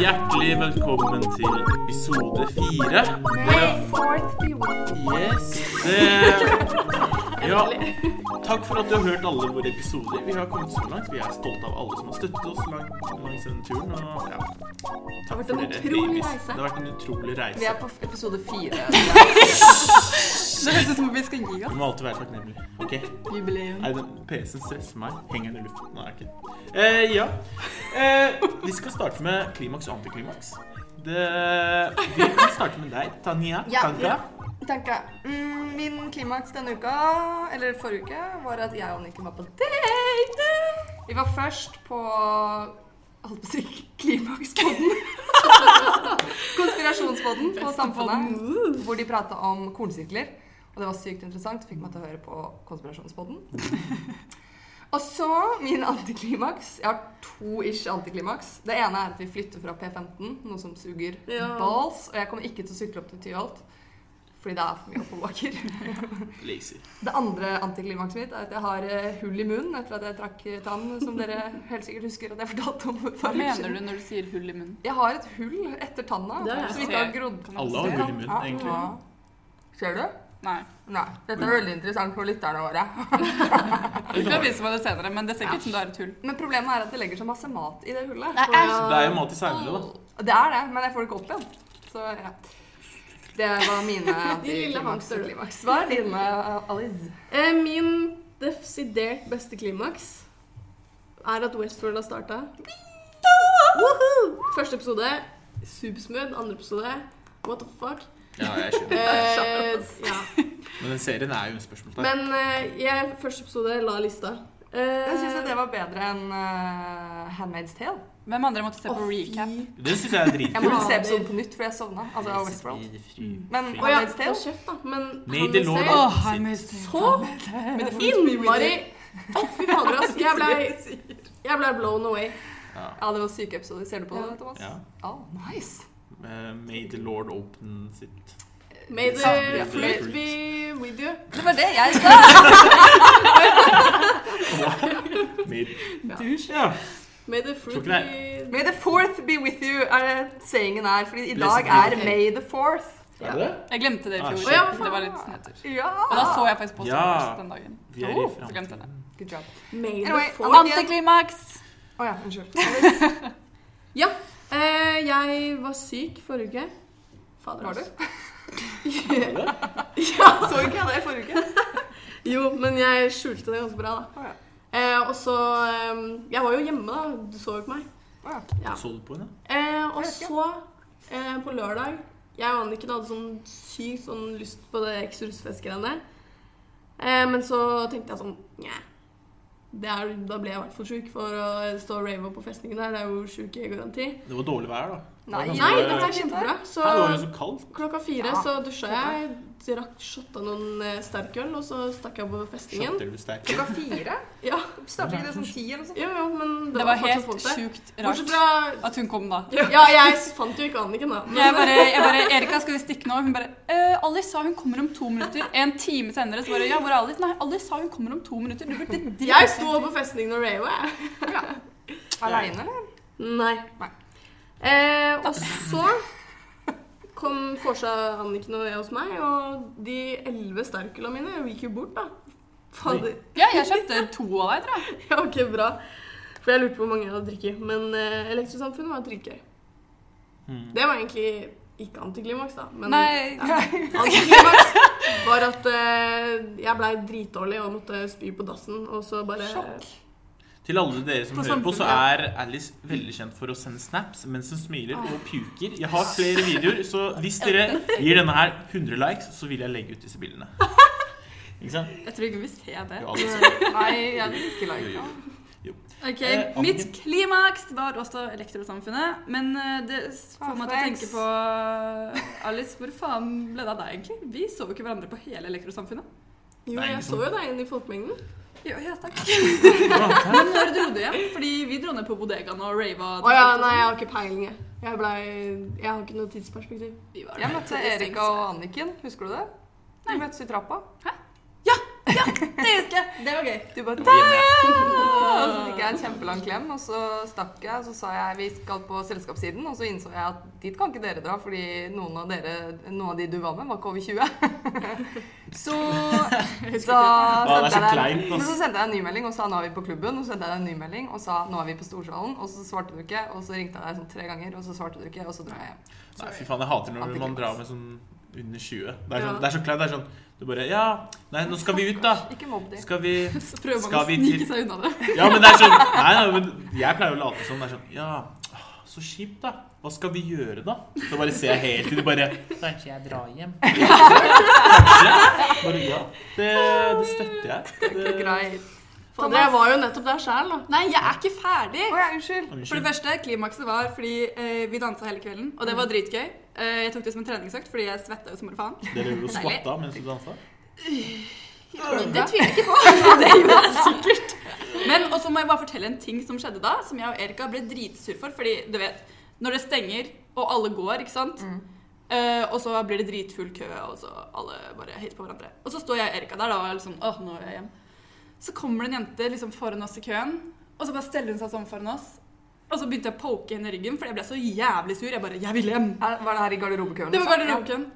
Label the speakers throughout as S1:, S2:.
S1: Hjertelig velkommen til episode fire.
S2: Hey, fourth beauty.
S1: Yes. Det... Ja. Takk for at du har hørt alle våre episoder. Vi har kommet så langt. Vi er stolte av alle som har støttet oss lang, langs denne turen. Og ja.
S2: Det har
S1: Takk
S2: vært en
S1: dere.
S2: utrolig
S1: Vi-
S2: reise.
S1: Det har vært en utrolig
S2: Vi
S1: reise.
S2: er på f- episode fire.
S3: Det høres ut som vi skal gi
S1: Du må alltid være takknemlig. Ok.
S3: oss jubileum.
S1: Nei, den PC-en stresser meg. Henger den i luften? Nei, ok. Eh, ja. Eh, vi skal starte med klimaks og antiklimaks. Det, vi kan starte med deg, Tanja.
S3: Ja,
S1: Tanka.
S3: ja.
S2: Tenker jeg. Mm, min klimaks denne uka, eller forrige uke, var at jeg og Nikken var på date. Vi var først på holdt på å si klimakspodden. Konspirasjonspodden på Samfunnet, hvor de prata om kornsirkler. Og det var sykt interessant. Fikk meg til å høre på konspirasjonspodden. Og så min antiklimaks. Jeg har to ish antiklimaks. Det ene er at vi flytter fra P15, noe som suger
S3: Ja.
S2: balls. Og jeg kommer ikke til å sykle opp til Tyholt, fordi det er for mye oppoverbakker.
S1: Lazy.
S2: Det andre antiklimakset mitt er at jeg har eh, hull i munnen etter at jeg trakk eh, tann, som dere helt sikkert husker at jeg fortalte om. for en uke
S3: Hva mener
S2: siden.
S3: du når du sier hull i munnen?
S2: Jeg har et hull etter tanna
S3: Det har jeg
S2: som ikke
S3: sett.
S2: har grodd.
S3: Kan man
S1: Alle har
S3: se?
S1: hull i munnen, egentlig.
S2: Ja. Ser du?
S3: Nei.
S2: Nei. Dette er veldig interessant for lytterne våre.
S3: Du kan vise meg det senere, men det ser ikke ut som det er et hull.
S2: Men problemet er at det legger så masse mat i det hullet.
S3: Nei,
S2: så-
S1: Det er jo mat i seinere, da.
S2: Og Det er det, men jeg får det ikke opp igjen. Så ja. Det var
S4: De
S2: mine
S4: lille
S2: antiklimaks og
S4: hamster.
S2: klimaks. Hva er dine, Alice?
S4: Eh, Min desidert beste klimaks er at Westworld har starta. Første episode supersmooth. Andre episode what the fuck.
S1: Ja, jeg skjønner.
S4: Eh, ja.
S1: Men den serien er jo en spørsmålstegn.
S4: Men eh, jeg, første episode la lista.
S2: Jeg syns det var bedre enn eh, Handmaid's Tale.
S3: Hvem andre
S4: Eh,
S3: måtte se på recap?
S1: Det syns jeg er
S2: Jeg
S1: dritkult.
S2: måtte se episoden på nytt, for jeg sovna. Altså av Westworld. Men
S4: Å ja,
S2: Handmaid's Tale
S4: hold kjeft, da. Men
S1: Made the
S4: Handmaid's
S1: Lord
S4: Tale-
S1: of-
S3: Åh, I missed it.
S4: Så innmari Å, fy fader, ass. Jeg blei jeg ble blown away.
S1: Ja.
S2: Ja, det var syke episoder. Ser du på det, Thomas?
S1: ja.
S2: Oh, nice.
S1: Eh, May the Lord open sitt
S4: May the fruit be with you.
S3: Det var det jeg sa!
S1: May...
S2: Ja.
S1: Ja.
S4: May the fruit
S1: Tror ikke
S4: be
S2: May the fourth be with you, er det sayingen er. Fordi i dag
S1: Listen
S2: er
S4: to me.
S2: May the fourth.
S1: Er det det?
S3: Jeg glemte det i
S1: Ah,
S3: fjor.
S1: shit.
S4: Å, ja, faen.
S3: det var litt snetter.
S2: Ja!
S3: Og da så jeg faktisk på
S1: Ja.
S3: Sopranos den dagen.
S1: Vi er i
S3: Oh, så glemte jeg det.
S1: framtiden.
S2: Good job.
S4: May the
S2: Anyway,
S4: fourth
S2: Anna-
S3: Antiklimaks!
S2: Å ja, unnskyld.
S4: Ja. Eh, jeg var syk forrige uke. Fader,
S2: Var du?
S4: altså.
S1: Er det det?
S2: Så ikke jeg det i forrige uke?
S4: Jo, men jeg skjulte det ganske bra,
S2: Å,
S4: da. Eh, og så eh, Jeg var jo hjemme, da. Du så jo ikke meg.
S2: Å ja.
S4: Ja.
S1: Så du på henne?
S4: Eh, og
S2: Jeg vet ikke.
S4: så, eh, på lørdag Jeg og Anniken hadde sånn sykt sånn lyst på det eks-russefest-greiene. Eh, men så tenkte jeg sånn Nja. det er- Da ble jeg i hvert fall sjuk, for å stå og rave på festningen der. Det er jo sjuk i garanti.
S1: Det var dårlig vær, da.
S2: Nei,
S1: Det
S4: Nei,
S1: var
S4: det
S1: ganske-
S4: var kjempebra. Så
S1: Nei, det var jo så kaldt.
S4: Klokka fire
S2: Ja.
S4: så dusja jeg, drakk shotta noen eh, sterkøl, og så stakk jeg på festingen.
S1: Shotter du sterkt?
S2: Klokka fire?
S4: Ja,
S2: Starter ikke det sånn ti eller noe sånt?
S4: ja, ja, men det,
S3: Det
S4: var,
S3: var
S4: fortsatt
S3: helt
S4: folk der.
S3: sjukt
S4: Bortsett
S3: rart
S4: fra
S3: at hun kom da.
S4: Ja, jeg fant jo ikke Anniken, da.
S3: Jeg bare, jeg bare 'Erika, skal vi stikke nå?' Hun bare eh, 'Alice sa hun kommer om to minutter.' En time senere så bare 'Ja, hvor er Alice?' Nei, Alice sa hun kommer om to minutter. Du burde
S4: eh,
S3: drite
S4: Jeg sto på festningen og rava, jeg.
S2: Aleine, eller?
S4: Nei.
S2: Nei.
S4: Eh, og så kom Forsa, Anniken og jeg hos meg, og de elleve sterkøla mine gikk jo bort, da. Fader.
S3: Ja, jeg kjøpte to av deg, tror jeg.
S4: Ja, ok, bra. For jeg lurte på hvor mange jeg hadde drukket. Men eh, Elektrosamfunnet var dritgøy.
S1: Mm.
S4: Det var egentlig ikke antiklimaks, da. Men
S3: Nei.
S4: Ja. antiklimaks var at eh, jeg blei dritdårlig og måtte spy på dassen, og så bare
S2: Sjokk.
S1: Til alle dere som
S3: På
S1: hører på, så er
S3: samfunnet. Ah.
S1: Alice veldig kjent for å sende snaps mens hun smiler og puker. Jeg har flere videoer, så hvis dere gir denne her 100 likes, så vil jeg legge ut disse bildene. Ikke sant?
S3: Jeg tror ikke vi ser det.
S1: Jo, Alice.
S2: Nei, jeg vil ikke like
S1: Jo,
S2: det.
S3: Ok,
S1: Eh, Anniken.
S3: Mitt klimaks var også Elektrosamfunnet. Men eh, det s- får
S2: Ah,
S3: meg til å
S2: thanks.
S3: tenke på Alice, hvor faen ble det av deg, egentlig? Vi så jo ikke hverandre på hele Elektrosamfunnet.
S4: Jo,
S1: Nei,
S4: jeg
S1: ikke
S4: så jo deg inne i folkemengden.
S3: Ja, ja takk.
S1: jo.
S3: Men når dro du hjem? Fordi vi dro ned på bodegaen og rava.
S4: Å ja, nei, jeg har ikke peiling, jeg. Jeg blei Jeg har ikke noe tidsperspektiv.
S3: Vi var
S2: Jeg møtte
S3: helt
S2: Erika og Anniken, husker du det? Vi møttes i trappa.
S3: Det
S2: ikke!
S4: Det var gøy.
S2: Du bare
S3: Ah,
S2: Og så fikk jeg en kjempelang klem, og så stakk jeg. Og så sa jeg vi skal på selskapssiden, og så innså jeg at dit kan ikke dere dra, fordi noen av, dere, noen av de du var med, var ikke over 20. så da
S1: det er
S2: sendte
S1: så
S2: jeg deg
S1: kleint, ass.
S2: Men så sendte jeg en ny melding og sa nå er vi på klubben, og så sendte jeg deg en ny melding og sa nå er vi på Storsalen, og så svarte du ikke, og så ringte jeg deg sånn tre ganger, og så svarte du ikke, og så dro jeg hjem.
S1: Nei, fy faen, jeg hater når man drar med sånn under 20. Det er, sånn, det er så kleint. Det er sånn Du bare Ja, nei, nå skal vi ut, da.
S2: Ikke mobb de.
S1: Skal vi
S3: Så prøver man
S1: Skal
S3: å
S1: vi
S3: snike
S1: til-
S3: seg unna det.
S1: Ja, men det er sånn Nei, nei, men jeg pleier å late som. Det er sånn Ja, åh, så kjipt, da. Hva skal vi gjøre, da? Så bare ser jeg helt til de bare Kanskje jeg drar hjem. Kanskje. Bare ja. Det, det støtter jeg. Det,
S2: Greit.
S4: Fader, jeg var jo nettopp der sjæl, da.
S3: Nei, jeg er ikke ferdig!
S2: Å ja, unnskyld.
S3: For det
S1: unnskyld.
S3: første, klimakset var fordi eh, vi dansa hele kvelden, og det var dritgøy. Eh, jeg tok det som en treningsøkt fordi jeg svetta jo som bare faen.
S1: Dere gjorde jo skvatta mens du dansa.
S3: Det tviler jeg ikke på. Det gjorde jeg sikkert. Men og så må jeg bare fortelle en ting som skjedde da, som jeg og Erika ble dritsur for. Fordi du vet, når det stenger, og alle går, ikke sant. Eh, og så blir det dritfull kø, og så alle bare hater på hverandre. Og så står jeg og Erika der, da, og jeg er liksom, åh, nå vil jeg hjem. Så kommer det en jente liksom foran oss i køen, og så bare steller hun seg sånn foran oss. Og så begynte jeg å poke henne i ryggen, for jeg ble så jævlig sur. Jeg bare, jeg vil hjem.
S2: Er- Var det her i garderobekøen?
S3: Det var
S2: liksom?
S3: garderoben.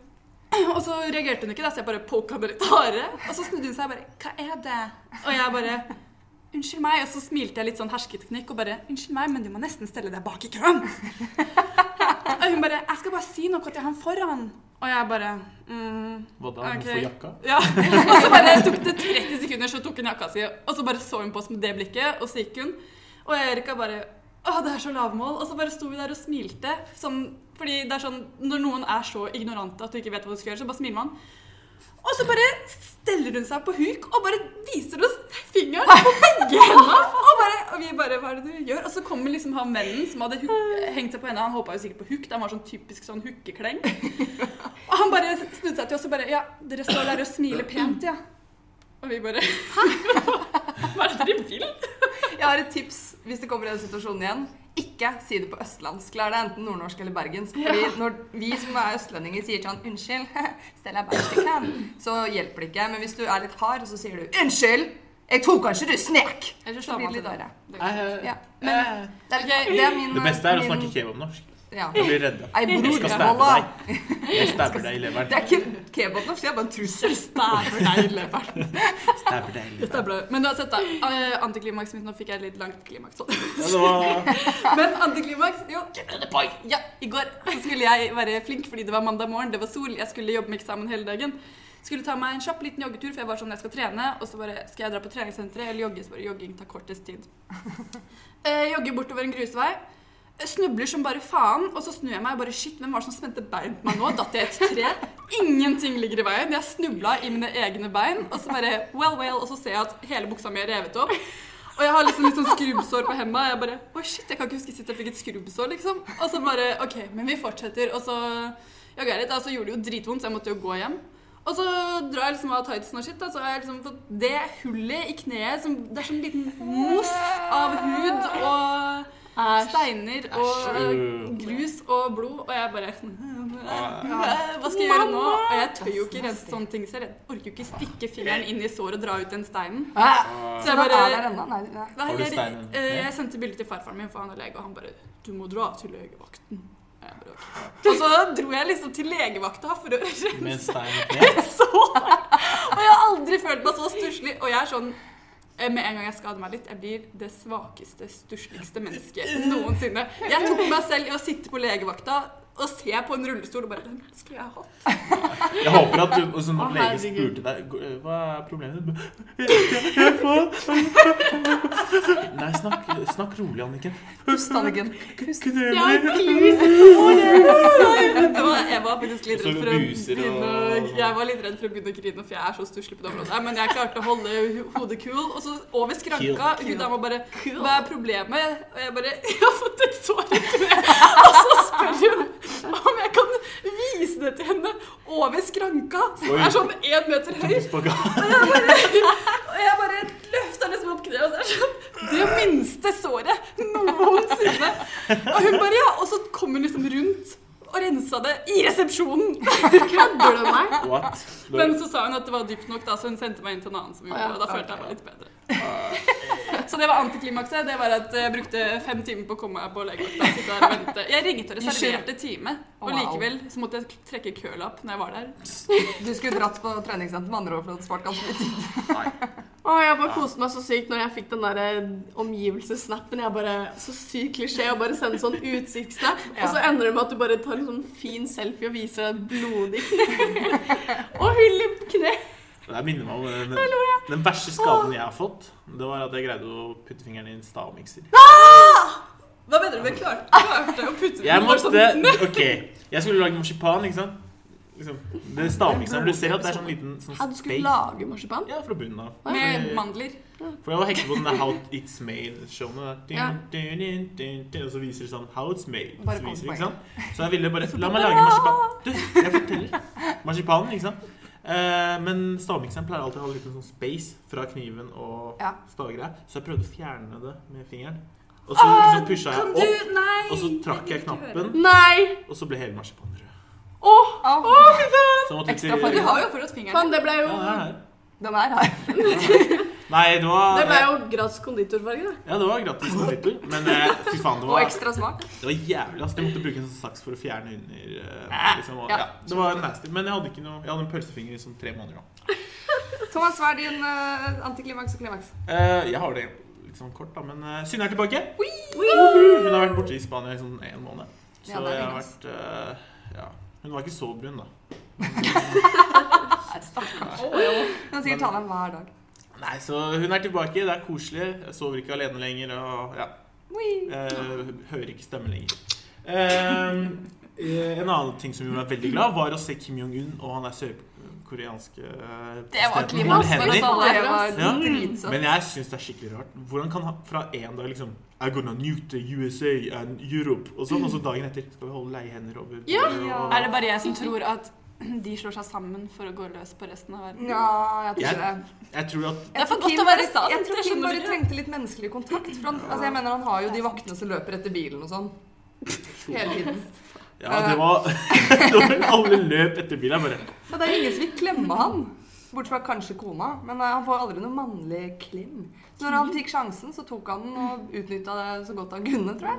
S3: Og så reagerte hun ikke, da, så jeg bare poka henne litt hardere. Og så snudde hun seg og bare 'Hva er det?' Og jeg bare 'Unnskyld meg'. Og så smilte jeg litt sånn hersketeknikk og bare 'Unnskyld meg, men du må nesten stelle deg bak i køen'. Og hun bare 'Jeg skal bare si noe til han foran'. Og jeg bare mm,
S1: Hva da? Må få
S3: Ok.
S1: jakka?
S3: ja. Og så bare tok det 30 sekunder, så tok hun jakka si, og så bare så hun på oss med det blikket, og så gikk hun. Og Erika bare Å, det er så lavmål. Og så bare sto vi der og smilte. Sånn, fordi det er sånn når noen er så ignorante at du ikke vet hva du skal gjøre, så bare smiler man. Og så bare steller hun seg på huk og bare viser oss fingeren på begge hendene. Og, bare, og vi bare Hva er det du gjør? Og så kommer liksom han mennen som hadde huk, hengt seg på henne. Han håpa jo sikkert på huk. da Han var sånn typisk sånn hookekleng. Og han bare snudde seg til oss og bare Ja, dere står der og smiler pent, ja. Og vi bare Hva er det dere vil?
S2: Jeg har et tips hvis det kommer i den situasjonen igjen. Ikke si det på østlandsk. Lær deg enten nordnorsk eller bergensk. Fordi når vi som er østlendinger sier til han 'unnskyld', stell deg bak i køen, så hjelper det ikke. Men hvis du er litt hard, så sier du 'unnskyld, jeg tror kanskje du snek'.
S3: Eller
S2: Så blir det litt rarere. Ja.
S1: Men,
S2: Det, er litt- det er min
S1: Eh, det beste er å
S2: min-
S1: snakke kebabnorsk.
S2: Ja.
S1: Jeg blir redda.
S2: Ei, bror,
S1: Jeg skal stabbe
S2: Molla.
S1: deg. Jeg stabber deg i
S2: Det
S1: leveren.
S2: er ikke kebabnorsk, det er bare en trussel.
S3: Stæver deg, Levert.
S1: Stabber deg i leveren.
S3: Men uansett, da. eh, Antiklimaks mitt. Nå fikk jeg litt langt klimaks. så.
S1: Ja, det var
S3: Men antiklimaks Jo. Ja, I går så skulle jeg være flink fordi det var mandag morgen, det var sol, jeg skulle jobbe med eksamen hele dagen. Skulle ta meg en kjapp liten joggetur, for jeg var sånn jeg skal trene. Og så bare skal jeg dra på treningssenteret eller jogge, så bare jogging tar kortest tid. Eh, jogger bortover en grusvei. Jeg Snubler som bare faen, og så snur jeg meg og bare Shit, hvem var det som spente bein på meg nå? Datt jeg i et tre? Ingenting ligger i veien. Jeg snubla i mine egne bein, og så bare Well, well, og så ser jeg at hele buksa mi er revet opp. Og jeg har liksom litt sånn skrubbsår på henda. og Jeg bare Oi, shit, jeg kan ikke huske sist jeg fikk et skrubbsår, liksom. Og så bare OK, men vi fortsetter. Og så jogga jeg litt, da, og så gjorde det jo dritvondt, så jeg måtte jo gå hjem. Og så drar jeg liksom av tightsen og shit, da, så har jeg liksom fått det hullet i kneet som Det er sånn liten mos av hud og steiner og
S1: Æsj.
S3: grus og blod, og jeg bare «Hm,
S1: Ja.
S3: Hva skal jeg gjøre nå? Og jeg tør jo ikke rense sånne ting, så jeg orker jo ikke stikke fingeren inn i såret og dra ut den steinen. Så
S2: Så da
S3: jeg bare
S2: er der ennå? Nei, nei.
S3: Nei,
S1: Har du
S3: jeg,
S1: steinen?
S3: eh, jeg sendte bilde til farfaren min, for han er lege, og han bare 'Du må dra til legevakten'. Jeg bare, «Ok». Og så dro jeg liksom til legevakta for å
S1: med en
S3: rense
S1: stein i kneet.
S3: såret. Og jeg har aldri følt meg så stusslig. Og jeg er sånn eh, med en gang jeg skader meg litt, jeg blir det svakeste, stussligste mennesket noensinne. Jeg tok meg selv i å sitte på legevakta og se på en rullestol og bare «Den skulle jeg hatt?
S1: Jeg håper at du, og så når
S3: Å,
S1: legen
S3: herregud.
S1: spurte deg «Gå- Hva er problemet ditt? Jeg, jeg får Nei, snakk, snakk rolig, Anniken.
S2: Pust, Anniken. Pust.
S3: Ja,
S1: Knever.
S3: gud, jeg får det. Det var- Jeg var faktisk
S1: Og
S3: litt
S1: så
S3: redd for å
S1: buser
S3: begynne
S1: og-
S3: å- Jeg var litt redd for å begynne å grine, for jeg er så stusslig på det området. her, Men jeg klarte å holde ho- hodet cool. Og så over skranka.
S2: Cool.
S3: Hun dama bare
S2: Cool.
S3: 'Hva er problemet?' Og jeg bare 'Jeg har fått et sår i kneet'. Og så spør hun om jeg kan vise det til henne over skranka, som
S1: Oi.
S3: er sånn én meter høy.
S1: Spagat.
S3: Og jeg bare løfta liksom opp kneet og så er det sånn Det minste såret noensinne. Og hun bare ja. Og så kom hun liksom rundt og rensa det i resepsjonen.
S4: Kødder du med meg?
S1: What?
S3: Men så sa hun at det var dypt nok, da, så hun sendte meg inn til en annen som gjorde
S4: Å, ja.
S3: det. Og da følte
S2: Ok.
S3: jeg meg litt bedre. Så det var antiklimakset. Det var at jeg brukte fem timer på å komme meg på legevakta. og sitte der og vente. Jeg ringte og
S2: Unnskyld.
S3: reserverte time,
S2: Wow.
S3: og likevel så måtte jeg trekke kølapp når jeg var der.
S2: Du skulle dratt på treningssenter med andre ord, for du hadde spart ganske mye tid.
S4: Å, jeg bare koste meg så sykt når jeg fikk den der eh, omgivelsessnappen. Jeg bare, Så sykt klisjé å bare sende sånn utsiktssnap,
S2: Ja.
S4: og så ender det med at du bare tar en sånn fin selfie og viser deg blodig kne. og hull i kne.
S1: Det her minner meg om den, den verste skaden jeg har fått. Det var at jeg greide å putte fingeren i en stavmikser.
S3: Hva mener du med klarte, klarte å putte
S1: Jeg
S3: den
S1: måtte
S3: der sånn?
S1: OK. Jeg skulle lage marsipan, ikke sant. Liksom, det er stavmikseren. Du ser at det er sånn liten sånn
S4: Ja, du skulle
S1: space.
S4: lage marsipan?
S1: Ja, fra bunnen av.
S3: Med mandler.
S1: For jeg var hektet på den der How It's Made-showene. der.
S4: Ja.
S1: Dun, dun, dun, dun, Og så viser det sånn How It's Made.
S2: Bare
S1: Så,
S2: kom
S1: viser, det,
S2: på
S1: ikke sant? så jeg ville bare La meg lage marsipan. Du, jeg forteller. Marsipanen, ikke sant. Eh, men stavmikseren pleier alltid å ha litt sånn space fra kniven og
S2: Ja.
S1: stavgreia, så jeg prøvde å fjerne det med fingeren. Og så liksom pusha
S3: Kan
S1: jeg
S3: du
S1: opp,
S3: Nei!
S1: og så trakk jeg
S3: vil ikke høre.
S1: knappen,
S4: Nei!
S1: og så ble hele marsipanen rød.
S4: Åh,
S2: Au.
S1: Så måtte vi
S2: Ekstra
S1: til-
S2: farge.
S3: Du har jo fortsatt fingeren.
S4: faen, det ble
S1: Ja,
S4: jo
S1: det er her.
S2: Den er her.
S1: Nei, det var,
S4: Det ble jo gratis konditorfarge, da.
S1: ja, det var gratis konditor, men eh, fy faen, det
S2: Og
S1: var
S2: ekstra smak.
S1: Det var jævlig, ass. Jeg måtte bruke en sånn saks for å fjerne under. eh,
S2: Ah,
S1: Liksom, og,
S2: ja.
S1: ja. Det var nasty. Men jeg hadde, ikke noe, jeg hadde en pølsefinger i sånn tre måneder nå.
S2: Thomas, hva er din eh, antiklimaks og klimaks?
S1: Eh, jeg har det litt sånn kort, da, men eh, Synne er tilbake.
S4: Woo!
S1: Hun har vært borte i Spania i sånn en måned. Så
S2: Ja, det er
S1: jeg har
S2: lenge, ass.
S1: vært eh, Ja. Hun var ikke så brun, da.
S2: Stakkars. Hun sier ta dem hver dag.
S1: Nei, så hun er tilbake. Det er koselig. Jeg sover ikke alene lenger og ja.
S2: Ui.
S1: Eh, hører ikke stemme lenger. Eh, eh, en annen ting som gjorde meg veldig glad, var å se Kim Jong-un og han der sørkoreanske eh,
S3: Det var
S1: presidenten
S3: klimaks,
S1: holde
S3: for å
S1: hender.
S2: Det var
S1: Ja.
S2: dritsøtt.
S1: Men jeg syns det er skikkelig rart. Hvordan kan han fra en dag liksom I'm gonna nuke the USA and Europe Og sånn, og så dagen etter skal vi holde leie hender over
S4: Ja.
S1: bordet,
S2: Ja.
S1: og...
S3: Er det bare jeg som tror at de slår seg sammen for å gå løs på resten av verden?
S2: Ja, jeg tror det.
S1: Jeg tror at
S3: Det er for
S2: Jeg tror
S3: godt
S2: Kim
S3: å være
S2: bare-
S3: sant,
S2: Jeg tror
S3: jeg
S2: Kim
S3: skjønner
S2: bare
S3: det.
S2: trengte litt menneskelig kontakt. For han, altså jeg mener han har jo de vaktene som løper etter bilen og sånn. Hele tiden.
S1: Ja, det var det var- Alle løp etter bilen. Jeg bare
S2: Og det er ingen som vil klemme han. Bort fra kanskje kona, men eh, han får aldri noe mannlig klem. Så når han fikk sjansen, så tok han den og utnytta det så godt han kunne, tror jeg.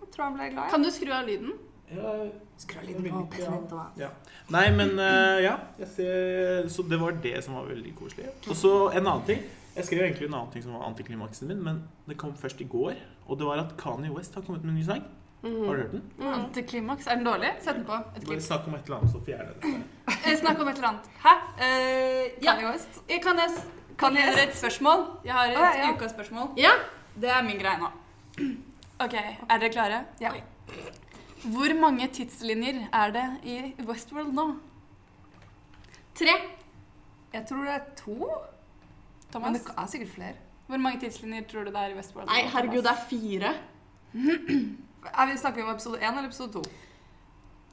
S2: jeg tror han ble glad. i.
S4: Kan du skru av lyden?
S1: ja.
S2: Skru av lyden på president og
S1: Nei, men eh, ja. Jeg ser, så det var det som var veldig koselig. Og så en annen ting. Jeg skrev egentlig en annen ting som var antiklimaksen min, men det kom først i går. Og det var at Kanye West har kommet med en ny sang.
S2: Mhm.
S1: Har du hørt den?
S3: Mm. Antiklimaks. Er den dårlig? Sett den på. Et
S1: Bare
S3: klipp.
S1: snakk om et eller annet, så fjerner jeg det.
S3: Eh, Snakk om et eller annet. Hæ? Eh, ja.
S2: Kanye West.
S3: Eh, Kan jeg, s- kan jeg gjøre et spørsmål? Jeg har et
S2: Å, ja, ja.
S3: ukas spørsmål.
S4: Ja.
S3: Det er min greie nå. OK, er dere klare?
S2: Ja.
S3: Hvor mange tidslinjer er det i Westworld nå?
S4: Tre.
S2: Jeg tror det er to, men
S3: Thomas,
S2: det er sikkert flere.
S3: hvor mange tidslinjer tror du det er i Westworld?
S4: Nei, herregud, det er fire.
S2: Er vi, snakker vi om episode én eller episode to?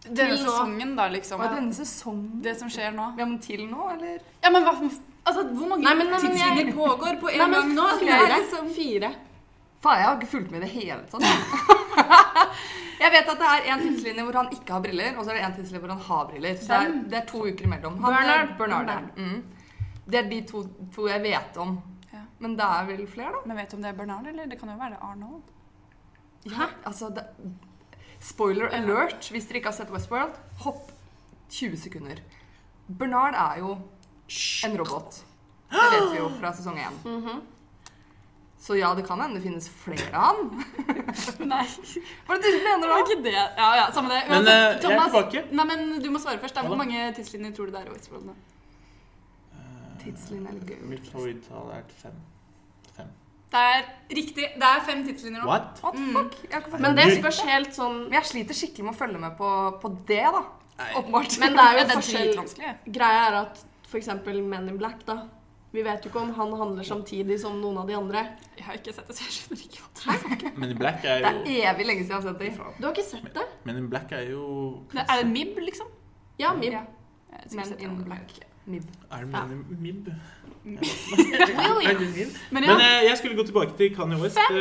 S3: Denne
S4: Til nå.
S3: sesongen, da, liksom.
S2: Hva er denne sesongen?
S3: Det som skjer nå.
S2: Ja, men til nå, eller?
S3: Ja, men hva Altså, hvor mange
S4: Nei, men- nei, men jeg-
S3: tidslinjer pågår på
S4: Nei,
S3: en gang
S4: men
S3: nå?
S2: jeg er
S4: fire. liksom Fire.
S2: Faen, jeg har ikke fulgt med i det hele tatt. altså. Jeg vet at det er en tidslinje hvor han ikke har briller, og så er det en tidslinje hvor han har briller. Så det er,
S3: Hvem?
S2: det er to uker imellom. Han,
S4: Bernard.
S2: Bernard. ja. Mm. Det er de to, to jeg vet om.
S3: Ja.
S2: Men det er vel flere, da?
S3: Men vet du om det er Bernard, eller? Det kan jo være Arnold.
S2: Hæ? Altså, det, spoiler alert hvis dere ikke har sett Westworld. Hopp 20 sekunder. Bernard er jo en robot. Det vet vi jo fra sesong én.
S4: Mhm.
S2: Så ja, det kan hende det finnes flere av han.
S3: Nei,
S2: Hva er det du mener da?
S3: det var ikke det. Ja, ja, samme det.
S1: Men,
S2: altså,
S3: Uansett,
S1: eh, jeg er tilbake.
S3: Nei, men du må svare først. Da.
S1: Ja da.
S3: Hvor mange tidslinjer tror du det er i Westworld nå?
S2: Tidslinje eller gud?
S1: Mitt favorittall er fem. Fem.
S3: Det er riktig. Det er fem tidslinjer nå.
S1: What?
S2: What the fuck?
S4: Mm.
S2: Jeg har ikke fått
S4: Men det spørs helt sånn
S2: Men jeg sliter skikkelig med å følge med på, på det, da.
S1: Nei.
S2: Åpenbart.
S4: Men det er jo
S3: Ja, det er
S4: forskjell.
S3: dritvanskelig.
S4: Greia er at f.eks. Men in Black, da. Vi vet jo ikke om han handler samtidig som noen av de andre.
S3: Jeg har ikke sett det, så jeg skjønner ikke hva det er.
S1: Men in black er
S2: Det
S1: jo
S2: er evig lenge siden jeg har sett
S1: Fy
S2: det.
S1: faen.
S4: Du har ikke sett det?
S1: Men in black er jo
S3: Det er en MIB, liksom.
S4: Ja, Mib.
S2: Men in black. Mib.
S1: Er det Men in Mib?
S3: Jo, ja.
S1: Er det min?
S3: Men ja.
S1: Men eh, jeg skulle gå tilbake til Kanye West. Eh,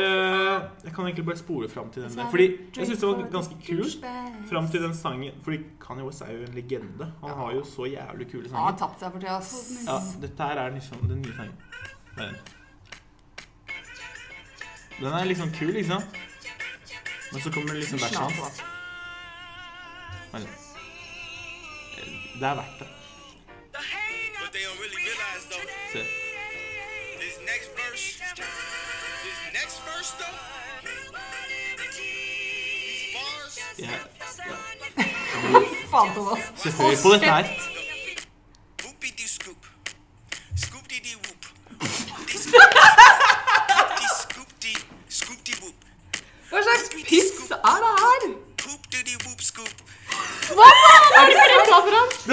S1: jeg kan egentlig bare spole fram til den der. Fordi jeg syns det var ganske kult fram til den sangen. Fordi Kanye West er jo en legende. Han har jo så jævlig kule
S2: Han har
S1: sanger.
S2: tapt seg for tida. ass.
S1: Ja, dette her er liksom den nye sangen. Der er Den Den er liksom kul, ikke sant? Men så kommer det liksom verset hans.
S2: Snart, ass.
S1: Men, Det er verdt det.
S5: What they don't really realize though,
S1: Se.
S5: this next verse, this next verse though, these bars,
S1: Jeg, ja.
S2: Faen, Thomas.
S1: Se høy på dette her.
S5: whoopie dee scoop, scoop dee dee whoop, scoop dee scoop dee whoop,
S2: Hva slags piss er det her?
S5: poop dee dee whoop scoop.
S1: Det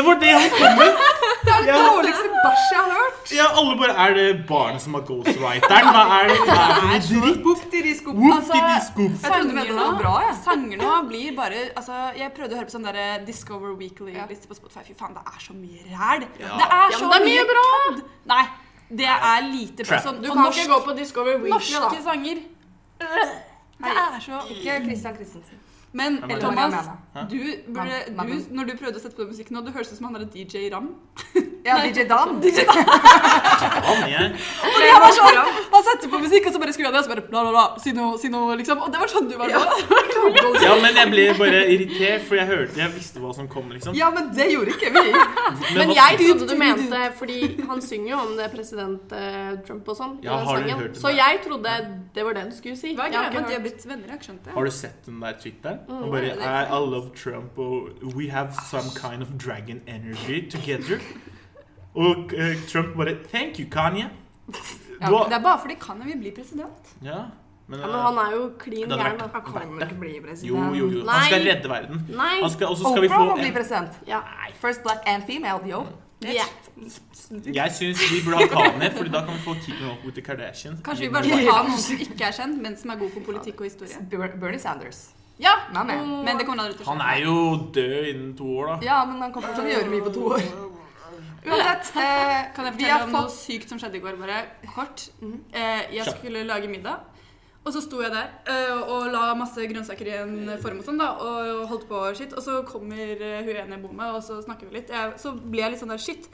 S1: var det han kom med!
S2: Det er det dårligste bæsjet jeg har hørt.
S1: Ja, alle bare Er det barnet som har ghostwriteren? Hva er det hva er det for noe dritt?
S2: Boop til risko.
S1: Whoop,
S3: Altså,
S1: diddy, scoop.
S2: Jeg trodde du mente det var bra, jeg.
S3: Sanger nå blir bare altså, Jeg prøvde å høre på sånn der Discover
S2: Ja.
S3: Weekly-liste på Spotify. Fy faen, det er så mye ræl!
S1: Ja.
S3: Det
S4: Ja,
S3: er så
S4: men det er mye
S3: bra! Nei, det er lite bra.
S1: Trap.
S3: Sånn,
S4: Du
S3: og
S4: kan
S3: norsk-
S4: ikke gå på Discover Weekly,
S3: norske
S4: da.
S3: sanger. Det er så
S2: Ikke Christian Christensen.
S3: Men
S1: Hvem er det?
S3: Thomas,
S1: Hæ?
S3: du burde,
S2: Hvem- hvem er
S3: du, når du prøvde å sette på den musikken nå, du høres ut som han derre DJ Ram.
S2: Ja, DJ Dan. DJ Dan.
S1: Han jeg.
S3: Fordi han, var sånn, han setter på musikk, og så bare skrur han ned, og så bare bla, bla, bla, si noe, si noe, liksom. Og det var sånn du var
S2: Ja.
S3: nå.
S1: Ja, men jeg ble bare irritert, for jeg hørte Jeg visste hva som kom, liksom.
S2: Ja, men det gjorde ikke vi.
S4: Men
S1: hva-
S4: jeg trodde du mente Fordi han synger jo om det president eh, Trump og sånn. i
S1: Ja,
S4: den
S1: har du
S4: sangen.
S1: hørt den
S4: Så
S1: der?
S4: jeg trodde det var det du skulle si.
S3: Hva er
S4: Jeg har
S3: greia med at
S4: ikke
S3: de har
S4: hørt.
S3: blitt venner? Jeg har ikke skjønt det.
S1: Har du sett den der Twitteren?
S4: Mm,
S1: Han bare I, I love Trump og We have some kind of dragon energy together. Og eh, Trump bare Thank you, Kanye. Du har
S3: Det er bare fordi kan jeg vil bli president.
S1: Ja, men, eh,
S4: Ja, men han er jo klin
S1: Det hadde
S4: gæren,
S1: vært-
S4: da.
S2: Han kan vel ikke bli
S1: eh, Jo,
S2: president.
S1: jo, jo. Han
S4: Nei.
S1: skal redde verden.
S4: Nei.
S1: Han skal, og så skal vi
S2: Oprah
S1: få
S2: må bli
S1: en,
S2: president.
S4: Ja.
S2: First black and female, yo.
S4: Ja.
S1: Jeg syns vi burde ha Kanye, Fordi da kan vi få Keeping Up With The Kardashians.
S3: Kanskje vi bare skal ha noen som ikke er kjent, men som er god på politikk og historie.
S2: Ber- Bernie Sanders.
S3: Ja,
S2: My man.
S3: men det kommer aldri til å skje.
S1: Han er jo død innen to år, da.
S2: Ja, men han kommer fortsatt til å gjøre mye på to år. Uansett, eh,
S3: Kan jeg
S2: vi
S3: fortelle
S2: har
S3: om noe
S2: fått Mhm.
S3: sykt som skjedde i går, bare kort? Eh, jeg
S1: Kjapt.
S3: skulle lage middag, og så sto jeg der eh, og la masse grønnsaker i en form og sånn, da, og holdt på og shit. Og så kommer eh, hun ene jeg bor med, og så snakker vi litt. Jeg, så ble jeg litt sånn der shit.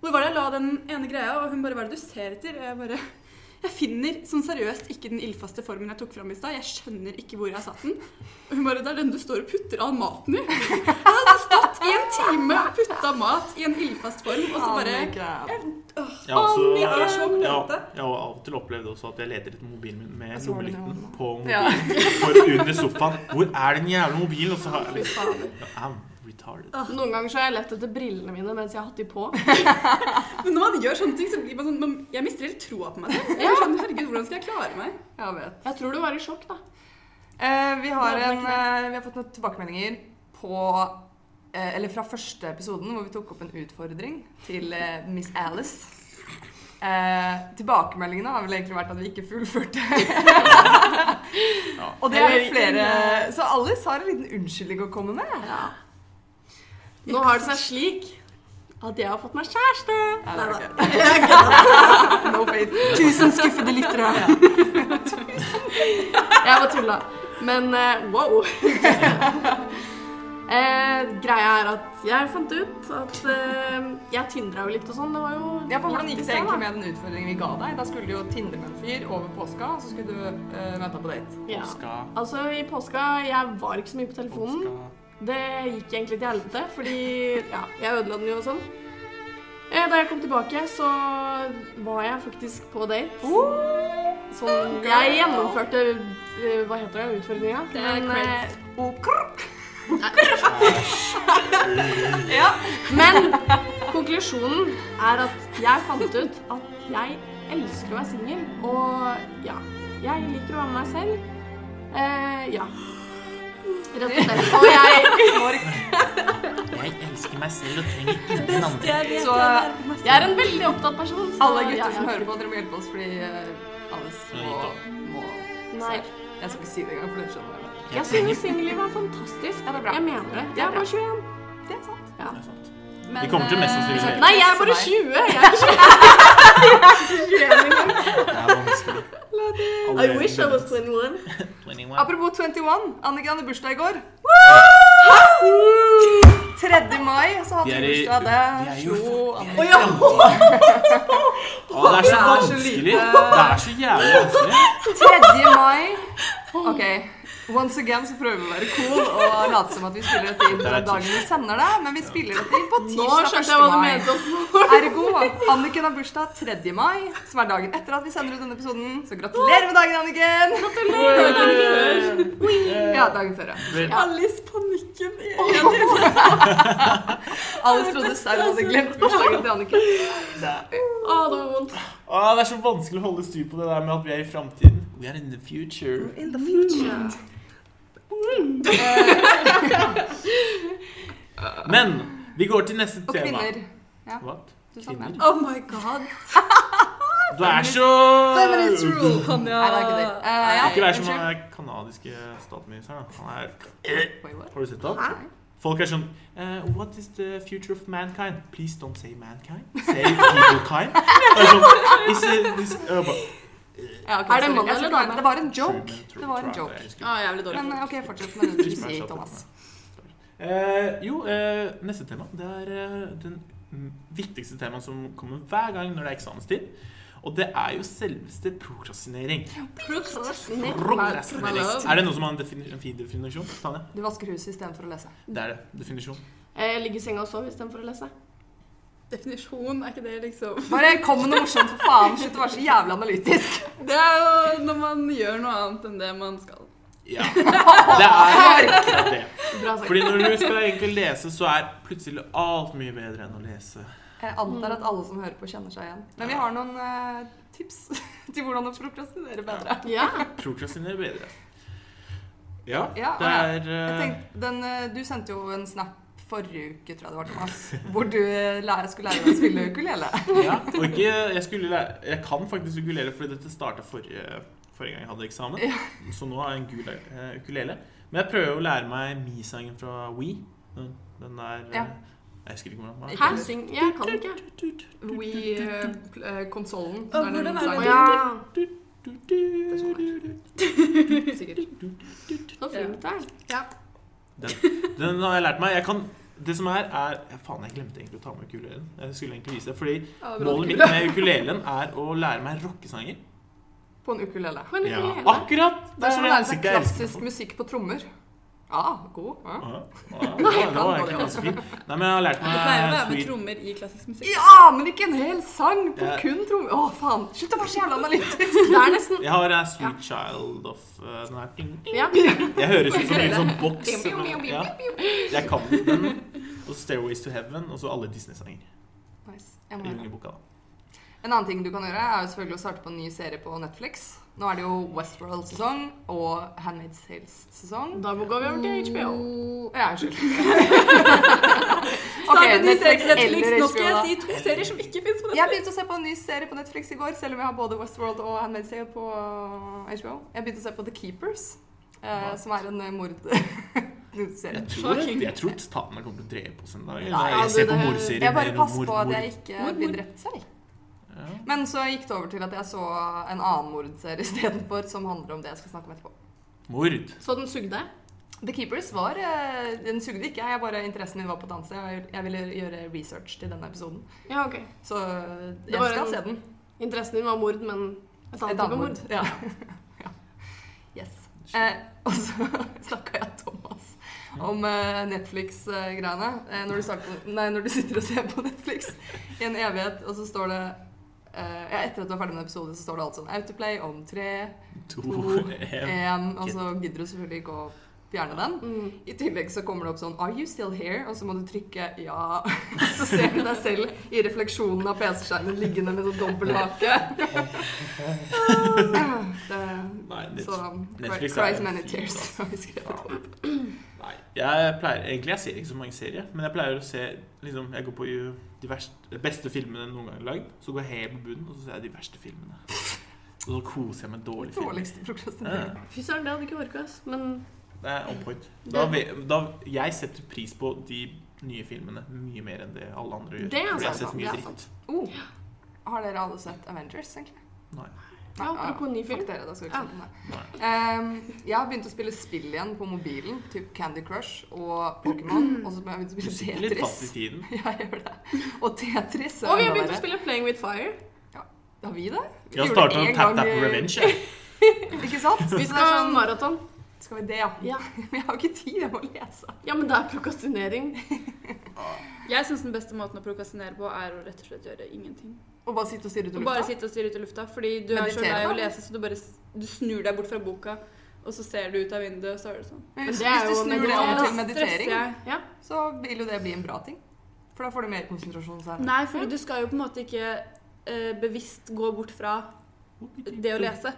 S3: Hvor var det jeg la den ene greia? Og hun bare Hva er det du ser etter? Jeg bare Jeg finner sånn seriøst ikke den ildfaste formen jeg tok fram i stad. Jeg skjønner ikke hvor jeg satt den. Og hun bare Det er den du står og putter all maten i. Jeg hadde stått i en time og putta mat i en ildfast form,
S2: eh,
S3: og så bare
S1: Jeg har også,
S3: Å, Nick, jeg er så
S1: jeg, har-
S3: klønete.
S1: jeg har av og til opplevd også at jeg leter etter mobilen min med
S2: så har du den i
S1: lommelykten
S2: hånda.
S1: på mobilen.
S2: Ja.
S1: For under sofaen Hvor er den jævla mobilen? Og så har jeg liksom I'm retarded.
S2: Ah.
S4: Noen ganger så har jeg lett etter brillene mine mens jeg har hatt de på.
S3: Men når man gjør sånne ting, så blir man sånn man, Jeg mister helt troa på meg selv. Jeg er sånn, herregud, hvordan skal jeg klare meg?
S2: Jeg vet.
S4: Jeg tror du var i sjokk, da.
S2: Eh, vi, har en, eh, vi har fått noen tilbakemeldinger på eh, Eller fra første episoden hvor vi tok opp en utfordring til eh, Miss Alice. Eh, tilbakemeldingene har vel egentlig vært at vi ikke fullførte. Og det er det flere Så Alice har en eh, liten unnskyldning å komme med.
S4: Nå har det seg slik at jeg har fått meg kjæreste.
S2: Nei,
S4: Nei,
S2: det
S4: da.
S2: var ikke- no faith.
S3: Tusen skuffede lyttere.
S4: Jeg var tulla. Men eh, wow. eh, greia er at jeg fant ut at eh, jeg tindra jo litt og sånn. Det var jo
S2: Ja, for Hvordan
S4: natt i
S2: gikk det
S4: sted,
S2: egentlig
S4: da.
S2: med den utfordringen vi ga deg? Da skulle du jo tindre med en fyr over påska, og så skulle du uh, møte ham på date.
S4: Ja.
S1: Påska,
S4: Altså, i påska Jeg var ikke så mye på telefonen.
S1: påska
S4: Det gikk egentlig til helvete, fordi ja, jeg ødela den jo og sånn. Eh, Da jeg kom tilbake, så var jeg faktisk på date. Sånn, jeg gjennomførte eh, Hva heter det? Utfordringa.
S3: Det er creds.
S4: eh,
S2: Og krr,
S4: men konklusjonen er at jeg fant ut at jeg elsker å være singel. Og ja, jeg liker å være meg selv. Eh, ja. Rett og slett. Og jeg,
S2: snork.
S1: Jeg elsker meg selv og trenger ingen andre.
S2: Så
S4: jeg er en veldig opptatt person. så-
S2: Alle
S4: ja,
S2: gutter som
S4: ja.
S2: hører på, dere må hjelpe oss, fordi eh, Alice
S1: Ja,
S2: må,
S1: gitt
S2: må
S4: Nei.
S2: Jeg skal ikke si det engang, for det skjønner jeg.
S4: Jeg synes singellivet er fantastisk.
S2: Ja, det er bra.
S4: Jeg mener det.
S2: Det er
S4: Jeg er
S2: bra.
S4: bare 21.
S2: Det er sant.
S1: Det er sant. Vi kommer til mest sannsynlig
S4: Nei, jeg er bare
S2: Nei.
S4: 20. Jeg er ikke 21 engang. 21.
S1: 21.
S2: Apropos 21. Anniken hadde bursdag i går.
S4: Woo!
S2: 3. mai så
S1: Vi
S2: hadde
S1: er i- vi er
S2: hun bursdag. Det
S1: jo-
S2: slo an-
S4: Å ja!
S1: Å, Ah, det er så
S2: Det er så
S1: vanskelig! Det
S2: lite.
S1: er så jævlig vanskelig.
S2: 3. mai OK. Once again så prøver vi å være cool og late som at vi spiller dette inn
S1: Det er
S2: den dagen vi sender det, men vi spiller dette inn på
S4: Nå
S2: tirsdag
S4: skjønte
S2: 1.
S4: jeg hva du mente.
S2: mai. Ergo Anniken har bursdag 3. mai, som er dagen etter at vi sender ut denne episoden. Så gratulerer med dagen, Anniken! Ja, dagen før, ja.
S1: Vel,
S3: Alice panikken i
S2: Alle trodde Saul hadde glemt bursdagen til
S4: Å,
S2: Anniken.
S4: det var vondt.
S1: Å, det er så vanskelig å holde styr på det der med at vi er i framtiden. We are in the future. Mm. Men vi går til neste
S2: Og
S1: tema.
S2: kvinner.
S1: Hva?
S2: Du sa
S1: Kvinner?
S2: det.
S4: Oh my god.
S1: Du er så
S2: Feminist rule.
S3: Kan
S2: Nei, det
S3: jeg
S2: er ikke det. Eh, ja,
S1: Ikke vær som
S2: unnskyld.
S1: han er kanadiske statsministeren. da. Han er
S2: Wait, what?
S1: Har du sett det?
S2: Nei.
S1: Folk er sånn eh, What is the future of mankind? Please don't say mankind. Say people kind. Det er sånn, is it, is, jeg bare,
S2: Ja, ok,
S4: Er det
S2: sorry.
S4: mann eller
S2: Jeg skal ikke-
S4: dame?
S2: Det var en
S1: True,
S2: joke.
S1: men tror-
S2: Det var en
S1: tror jeg
S2: joke.
S1: jeg husker.
S3: Å, Ah, jævlig dårlig.
S2: Men eh, ok, fortsett med det du sier, Thomas.
S1: Eh, jo, eh, neste tema Det er eh, den mm, viktigste temaet som kommer hver gang når det er eksamenstid. Og det er jo selveste prokrastinering. Prokrastinering. Er det noen som har en, defini en fin definisjon? Tanja?
S2: Du vasker huset istedenfor å lese.
S1: Det er det. Definisjon.
S4: Eh, Jeg ligger i senga og sover istedenfor å lese.
S3: Definisjon, er ikke det liksom
S2: Bare kom med noe morsomt, for faen. Slutt å være så jævlig analytisk.
S3: Det er jo når man gjør noe annet enn det man skal.
S1: Ja. Det er akkurat det.
S4: Bra sagt.
S1: Fordi når du skal egentlig lese, så er plutselig alt mye bedre enn å lese.
S2: Jeg antar at alle som hører på, kjenner seg igjen. Men vi har noen eh, tips til hvordan å prokrastinere bedre.
S4: Ja.
S1: Prokrastinere bedre. Ja,
S2: Ja,
S1: det
S2: ja.
S1: er
S2: Jeg
S1: eh,
S2: tenkte, den, eh, du sendte jo en snap forrige uke, tror jeg det var, Thomas, hvor du eh, lærer, skulle lære deg å spille ukulele.
S1: ja, Og ikke Jeg skulle lære Jeg kan faktisk ukulele, fordi dette starta forrige, forrige gang jeg hadde eksamen. Så nå har jeg en gul eh, ukulele. Men jeg prøver å lære meg mi-sangen fra We. Den, den der eh,
S2: Ja.
S1: Jeg husker ikke hvordan den
S4: Her syng Jeg kan ikke.
S2: We-konsollen.
S3: Å, hvordan er
S4: Å
S3: det?
S4: ja.
S1: var.
S2: Sikkert.
S4: Så flink du er.
S1: Den har jeg lært meg. Jeg kan, det som er, er ja, Faen, jeg glemte egentlig å ta med ukulelen. Jeg skulle egentlig vise det, fordi Målet mitt med ukulelen er å lære meg rockesanger.
S2: På en ukulele.
S4: På en
S1: Ja.
S4: ukulele.
S1: Akkurat!
S2: Det er som å
S1: det
S2: lære seg
S1: ansiktet jeg elsker.
S2: klassisk musikk på trommer. Ja, god. Ja.
S1: Ja, ja, det var- det var egentlig ganske fint. Nei, men jeg har lært
S3: Det pleier å være
S1: meg
S3: med
S1: Eh, Sweet
S3: trommer i klassisk musikk.
S2: Ja, men ikke en hel sang på
S1: Ja.
S2: kun trommer. Å, faen. Slutt å være så jævla analytisk.
S4: Det er nesten
S1: Jeg har eh, Sweet Child of eh, den her ding, ding.
S4: Ja.
S1: Jeg høres ut som en sånn boks. eller noe. Ja. Jeg kan den. Og Stairways to Heaven, og så alle Disney-sanger.
S2: Nice. Jeg
S1: I
S2: må gjøre det.
S1: Jungeboka, da.
S2: En annen ting du kan gjøre, er jo selvfølgelig å starte på en ny serie på Netflix. Nå er det jo Westworld-sesong og Handmaid's Tales-sesong.
S4: Da må går vi over til HBO.
S2: Og- Ja, unnskyld.
S3: Start en ny serie på Netflix.
S2: eller
S3: Nå
S2: HBO,
S3: skal
S2: da.
S3: jeg si to serier som ikke fins på
S2: Jeg
S3: Netflix.
S2: begynte å se på en ny serie på Netflix i går, selv om jeg har både Westworld og Handmaid's Tale på eh, HBO. Jeg begynte å se på The Keepers, eh,
S1: Hva?
S2: som er en eh, mordserie.
S1: Jeg tror, jeg tror statene kommer til å drepe oss en dag.
S4: ja,
S1: Jeg ser
S4: det-
S1: på
S4: det-
S1: mordserier
S2: Jeg bare
S1: mer enn
S2: passer
S1: mord,
S2: på at
S1: mord.
S2: jeg ikke
S3: Mord,
S2: blir
S3: mord.
S2: drept selv.
S1: Ja.
S2: Men så gikk det over til at jeg så en annen mordserie istedenfor, som handler om det jeg skal snakke om etterpå.
S1: Mord.
S4: Så den sugde?
S2: The Keepers var eh, Den sugde ikke, jeg. bare Interessen min var på et annet sted. og Jeg jeg ville gjøre research til denne episoden.
S4: Ja, ok.
S2: Så eh, jeg
S4: var
S2: skal
S4: en-
S2: se den.
S4: Interessen din var mord, men et
S2: Et
S4: annet
S2: annet
S4: type
S2: mord.
S4: mord.
S2: Ja. ja. Yes. Eh, og så snakka jeg Thomas om eh, Netflix-greiene. Eh, når, du starter- nei, når du sitter og ser på Netflix i en evighet, og så står det eh, ja, Etter at du er ferdig med en episode, så står det alt sånn Autoplay om tre,
S1: To,
S2: To,
S1: en.
S2: én Og så gidder du selvfølgelig ikke å fjerne den.
S4: Mm.
S2: I tillegg så kommer det opp sånn Are you still here? Og så må du trykke ja. Så ser du deg selv i refleksjonen av PC-skjermen liggende med sånn dobbelthake. Det-
S1: Nei, det-
S2: Så cry-
S1: Netflix er
S2: Cries
S1: en
S2: many
S1: fin
S2: tears.
S1: plass.
S2: har vi skrevet.
S1: Nei, jeg pleier Egentlig jeg ser ikke så mange serier, men jeg pleier å se liksom, Jeg går på jo de verste, beste filmene noen gang lagd, så går jeg helt på bunnen, og så ser jeg de verste filmene. Og så koser jeg meg med dårlige filmer.
S2: Dårligste prokrastinering.
S1: Ja,
S4: Fy søren, det hadde ikke orka oss. Men
S1: det er on point. Da, ve- da, jeg setter pris på de nye filmene mye mer enn det alle andre gjør.
S4: Det er
S1: fordi jeg
S4: sant,
S1: har sett
S4: det
S1: mye
S4: er
S1: dritt.
S2: Oh, har dere alle sett Avengers, egentlig?
S1: Nei.
S4: Ja, apropos ny film.
S2: Fuck dere, da skal vi ikke snakke om det. Ehm, jeg har begynt å spille spill igjen på mobilen. Typ Candy Crush og Pokémon. Og så har jeg begynt å
S1: Du
S2: spille
S1: spiller litt fast i
S2: Tetris.
S1: tiden.
S2: Ja, jeg gjør det. Og Tetris. er
S4: Og vi har
S2: enda
S4: begynt å
S2: verre.
S4: spille Playing with Fire.
S2: Har vi det? Vi
S1: Jeg har
S2: gjorde
S1: startet
S2: det
S1: med
S2: en
S1: Tap
S2: gang
S1: Tap
S2: i-
S1: Revenge. jeg.
S2: Ikke sant? Så det
S4: Vi
S2: er
S4: skal ha
S2: sånn-
S4: maraton.
S2: Skal vi det, ja?
S4: Ja.
S2: Men jeg har ikke tid, jeg må lese.
S4: Ja, men det er prokastinering.
S3: Jeg syns den beste måten å prokastinere på, er å rett og slett gjøre ingenting.
S2: Og bare sitte og stirre ut i
S3: Og bare
S2: lufta.
S3: sitte og stirre ut i lufta. Fordi du er så
S2: Meditere,
S3: lei av å
S2: da.
S3: lese, så du bare s- du snur deg bort fra boka, og så ser du ut av vinduet, og så er det sånn.
S2: Men
S4: Men
S2: Hvis,
S4: det er
S2: hvis du
S4: jo
S2: snur det om
S4: meditere,
S2: til
S3: Da stresser
S2: meditering,
S3: jeg.
S4: Ja.
S2: så vil jo det bli en bra ting. For da får du mer konsentrasjon særlig.
S3: Nei, for du skal jo på en måte ikke eh, bevisst gå bort fra det å lese.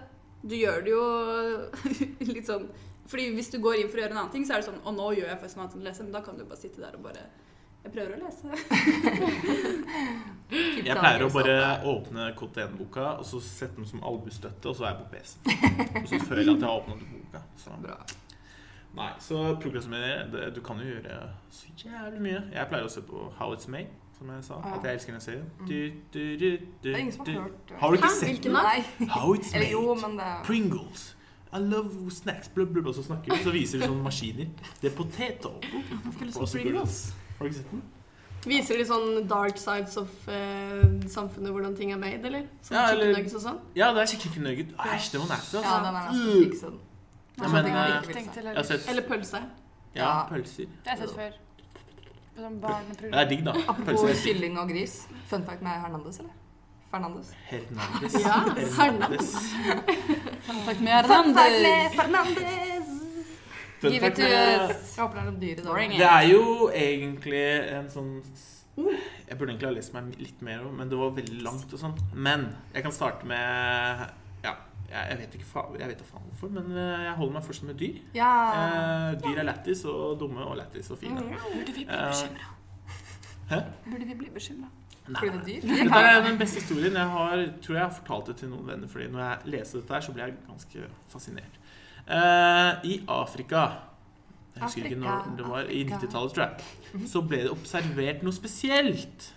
S3: Du gjør det jo litt sånn Fordi hvis du går inn for å gjøre en annen ting, så er det sånn Å, nå gjør jeg faktisk noe annet enn å lese, men da kan du bare sitte der og bare Jeg prøver å lese.
S1: Jeg pleier å bare åpne KTN-boka og så sette den som albustøtte, og så er jeg på PC-en. Og så føler jeg at jeg har åpnet boka. Så.
S2: Bra.
S1: Nei, så prokrastinere det, Du kan jo gjøre så jævlig mye. Jeg pleier å se på How It's Made, som jeg sa.
S2: Ja.
S1: At jeg elsker den serien.
S2: Mm.
S1: Du, du, du, du,
S2: Det er ingen som har hørt det.
S1: Har du ikke
S4: Hæ?
S1: sett den?
S4: Hvilken da?
S2: Nei.
S1: How It's
S2: Eller
S1: Made?
S2: jo, men det er
S1: Pringles. I love snacks. Blubb, blubb. Og så snakker vi, så viser de sånne maskiner. Det er potato. Og så Har du ikke sett den?
S4: Viser de sånn dark sides of eh, samfunnet, hvordan ting er made, eller? Sånn
S1: Ja,
S4: ja,
S1: eller-
S4: nuggets og sånn?
S1: Ja, det er chicken nugget. Æsj, det var nasty,
S2: Ja,
S1: altså.
S2: den er nesten ikke sånn.
S1: Ja,
S2: Sånne
S1: men,
S2: ting man
S1: eh,
S2: ikke vil se.
S1: Jeg har sett
S4: Eller pølse.
S1: ja,
S2: Ja.
S1: pølser.
S6: Det har jeg sett før. På sånn
S1: Det
S6: barneprogram.
S1: er digg, da. Pølser
S2: Apropos
S1: er digg.
S2: kylling og gris. Fun fact med Hernandez, eller? Fernandes.
S1: Hernandez.
S4: Ja,
S1: Hernandez.
S2: Fun fact med Fernandes!
S1: Fun
S6: Give
S1: fact
S6: it
S1: med-
S6: to us.
S2: Jeg håper det er noe dyr i
S6: Boring,
S2: dag.
S6: eh.
S1: Det er jo egentlig en sånn Jeg burde egentlig ha lest meg litt mer om men det var veldig langt og sånn. Men jeg kan starte med Ja, jeg jeg vet ikke fa jeg vet da faen hvorfor, men eh, jeg holder meg først med dyr.
S2: Ja. Mm.
S1: Eh, dyr er lættis og dumme og lættis og fine.
S6: Burde vi bli
S1: Eh,
S6: bekymra?
S1: Hæ?
S6: Burde vi bli bekymra?
S2: Fordi det er dyr. Jeg
S1: Dette
S2: kan-
S1: er den beste historien jeg har Tror jeg har fortalt det til noen venner Fordi når jeg leser dette her så blir jeg ganske fascinert Eh, I Afrika Jeg husker ikke når
S2: Afrika,
S1: det var I
S2: Afrika. Mhm.
S1: 90-tallet tror jeg Så ble det observert noe spesielt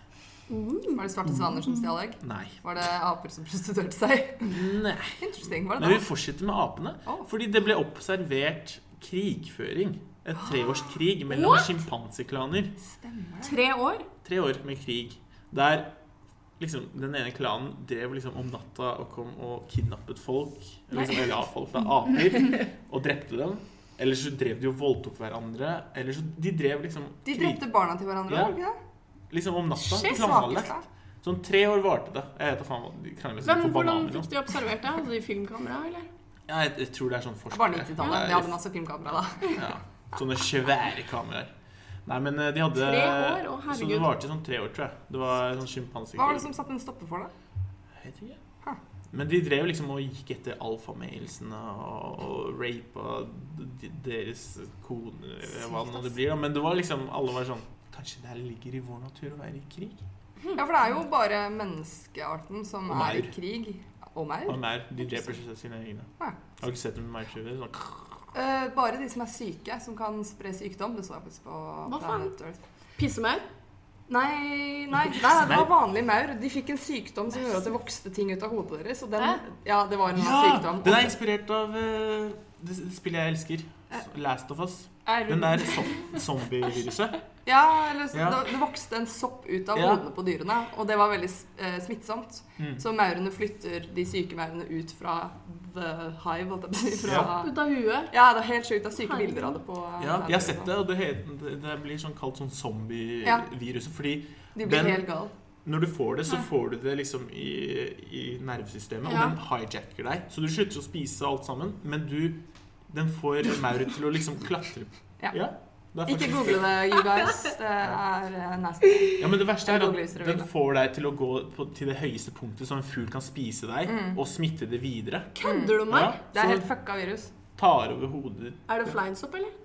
S2: Var det svarte svaner som stjal egg?
S1: Nei,
S2: Var det aper som prostituerte seg?
S1: nei
S2: Interesting, var
S1: Men
S2: det
S1: vi
S2: det?
S1: fortsetter med apene
S2: Å.
S1: Fordi det ble observert krigføring Et treårskrig mellom skimpanseklaner
S2: Stemmer. det.
S4: Tre år?
S1: tre år med krig der liksom, den ene klanen drev liksom om natta og kom og kidnappet folk. Liksom, eller ja, folk, da, aper. Og drepte dem. Eller så drev de og voldtok hverandre. Eller så De drev liksom
S2: De
S1: krig-
S2: drepte barna til hverandre,
S1: Ja.
S2: var det ikke det?
S1: liksom om natta.
S2: Shit,
S1: Planlagt.
S2: svakeste.
S1: Sånn tre år varte det. Jeg vet da faen hva de krangler seg
S4: Hvem,
S1: på
S4: hvordan
S1: bananer nå.
S4: fikk de observert det? Hadde de filmkamera, eller?
S1: Ja, jeg, jeg tror det er sånn
S2: Det
S1: forskere.
S2: er Bare 90-tallet. De
S1: Ja,
S2: hadde masse filmkamera da.
S1: Ja. Sånne svære kameraer. Nei, men eh, de hadde
S4: Tre år? Å, herregud.
S1: Så det varte i sånn tre år, tror jeg. Det var sånn sjimpansekrig.
S2: Hva var det som satte en stopper for det?
S1: Jeg vet ikke.
S2: Hæ.
S1: Men de drev liksom og gikk etter alfamailsene og, og rapa d- deres koner eller hva nå det blir. da. Men det var liksom Alle var sånn Kanskje det her ligger i vår natur å være i krig?
S2: Ja, for det er jo bare menneskearten som
S1: Og
S2: er i
S1: maur.
S2: krig. Og maur.
S1: Og mer, de dreper seg selv sine egne.
S2: Ja.
S1: Jeg har ikke sett dem med maurtjuver. Sånn.
S2: Eh, bare de som er syke, som kan spre sykdom. Det så jeg faktisk på
S4: Hva faen?
S2: Planet Earth.
S4: Pissemaur?
S2: Nei, nei, nei, nei, det var vanlig maur. De fikk en sykdom som gjorde at det vokste ting ut av hodet deres. Og den,
S4: Hæ?
S2: ja, det var en
S1: Ja!
S2: sykdom.
S1: Den er inspirert av eh, det, det spillet jeg elsker. Last of Us. Den der som- zombieviruset.
S2: Ja, eller så,
S1: Ja.
S2: Det, det vokste en sopp ut av
S1: Ja.
S2: hodene på dyrene, og det var veldig eh, smittsomt.
S1: Mm.
S2: Så maurene flytter de syke maurene ut fra the hive, holdt jeg på å si. Fra, ja.
S4: Ut av huet?
S2: det er helt sjukt. Det er syke
S4: Herregud.
S2: bilder av det på eh,
S1: Ja, jeg har
S2: Planet
S1: sett
S2: Earth,
S1: det, sånn. og det, het- det- det blir sånn kalt sånn zombieviruset. Fordi
S2: da. De blir
S1: Den-
S2: helt gale.
S1: Når du får det, så får du det liksom i, i nervesystemet,
S4: Ja.
S1: og den hijacker deg. Så du slutter å spise alt sammen, men du Den får mauret til å liksom klatre.
S2: Ja.
S1: det er
S2: Ikke
S1: faktisk
S2: google det, you guys. Det er eh, nasty.
S1: Ja, men det verste
S2: Jeg
S1: er
S2: googler hvis
S1: at
S2: dere vil
S1: den
S2: det.
S1: får deg til å gå på, til det høyeste punktet, så en fugl kan spise deg
S2: Mm.
S1: og smitte det videre.
S4: Kødder du med meg?
S2: Det er
S1: så
S2: helt fucka virus.
S1: den tar over hodet ditt.
S4: Er det fleinsopp, eller?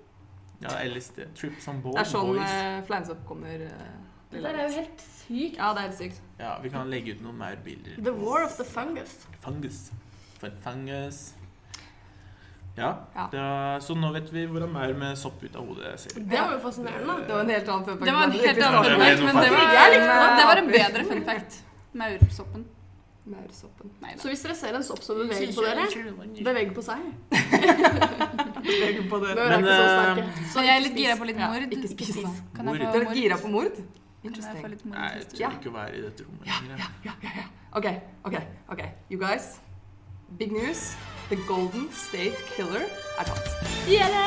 S1: Ja, LSD. Trips on board,
S2: Det er sånn
S1: Oh, boys.
S2: eh, fleinsopp kommer. eh,
S4: Det der er jo helt sykt.
S2: ja, det er helt sykt.
S1: Ja, vi kan legge ut noen maurbilder.
S4: The war of the fungus.
S1: Fungus. For en fungus. Ja,
S2: Ja.
S1: da- så nå vet vi hvordan maur med sopp ut av hodet ser ut.
S4: Det var jo fascinerende.
S2: Det var en helt annen fun fact.
S3: Det var en
S2: Jeg
S3: helt
S2: virkelig
S3: annen
S1: Ja,
S3: fun
S1: det
S3: fact,
S1: er
S3: men
S1: noe
S3: det
S1: feil.
S3: var,
S2: Jeg likte det.
S3: det var en bedre fun fact. Maursoppen.
S2: Maursoppen.
S6: Nei da.
S4: Så hvis dere ser en sopp som beveger på dere, beveger på seg.
S2: Beveger på
S4: Bør
S2: dere.
S4: være
S1: Men,
S4: ikke så
S1: eh,
S4: sterke.
S6: Så jeg er litt gira på litt
S2: Ja,
S6: mord.
S2: ikke spis.
S6: Kan jeg
S1: Mord.
S6: få
S2: Dere er gira
S6: mord?
S2: på mord?
S6: Kan jeg få
S2: Interesting.
S6: litt mord?
S1: Nei, jeg
S6: først?
S1: tør ikke å være i dette rommet lenger. jeg.
S2: Ja, ja, ja. OK, OK. ok. You guys, big news. The Golden State Killer er tatt. Dere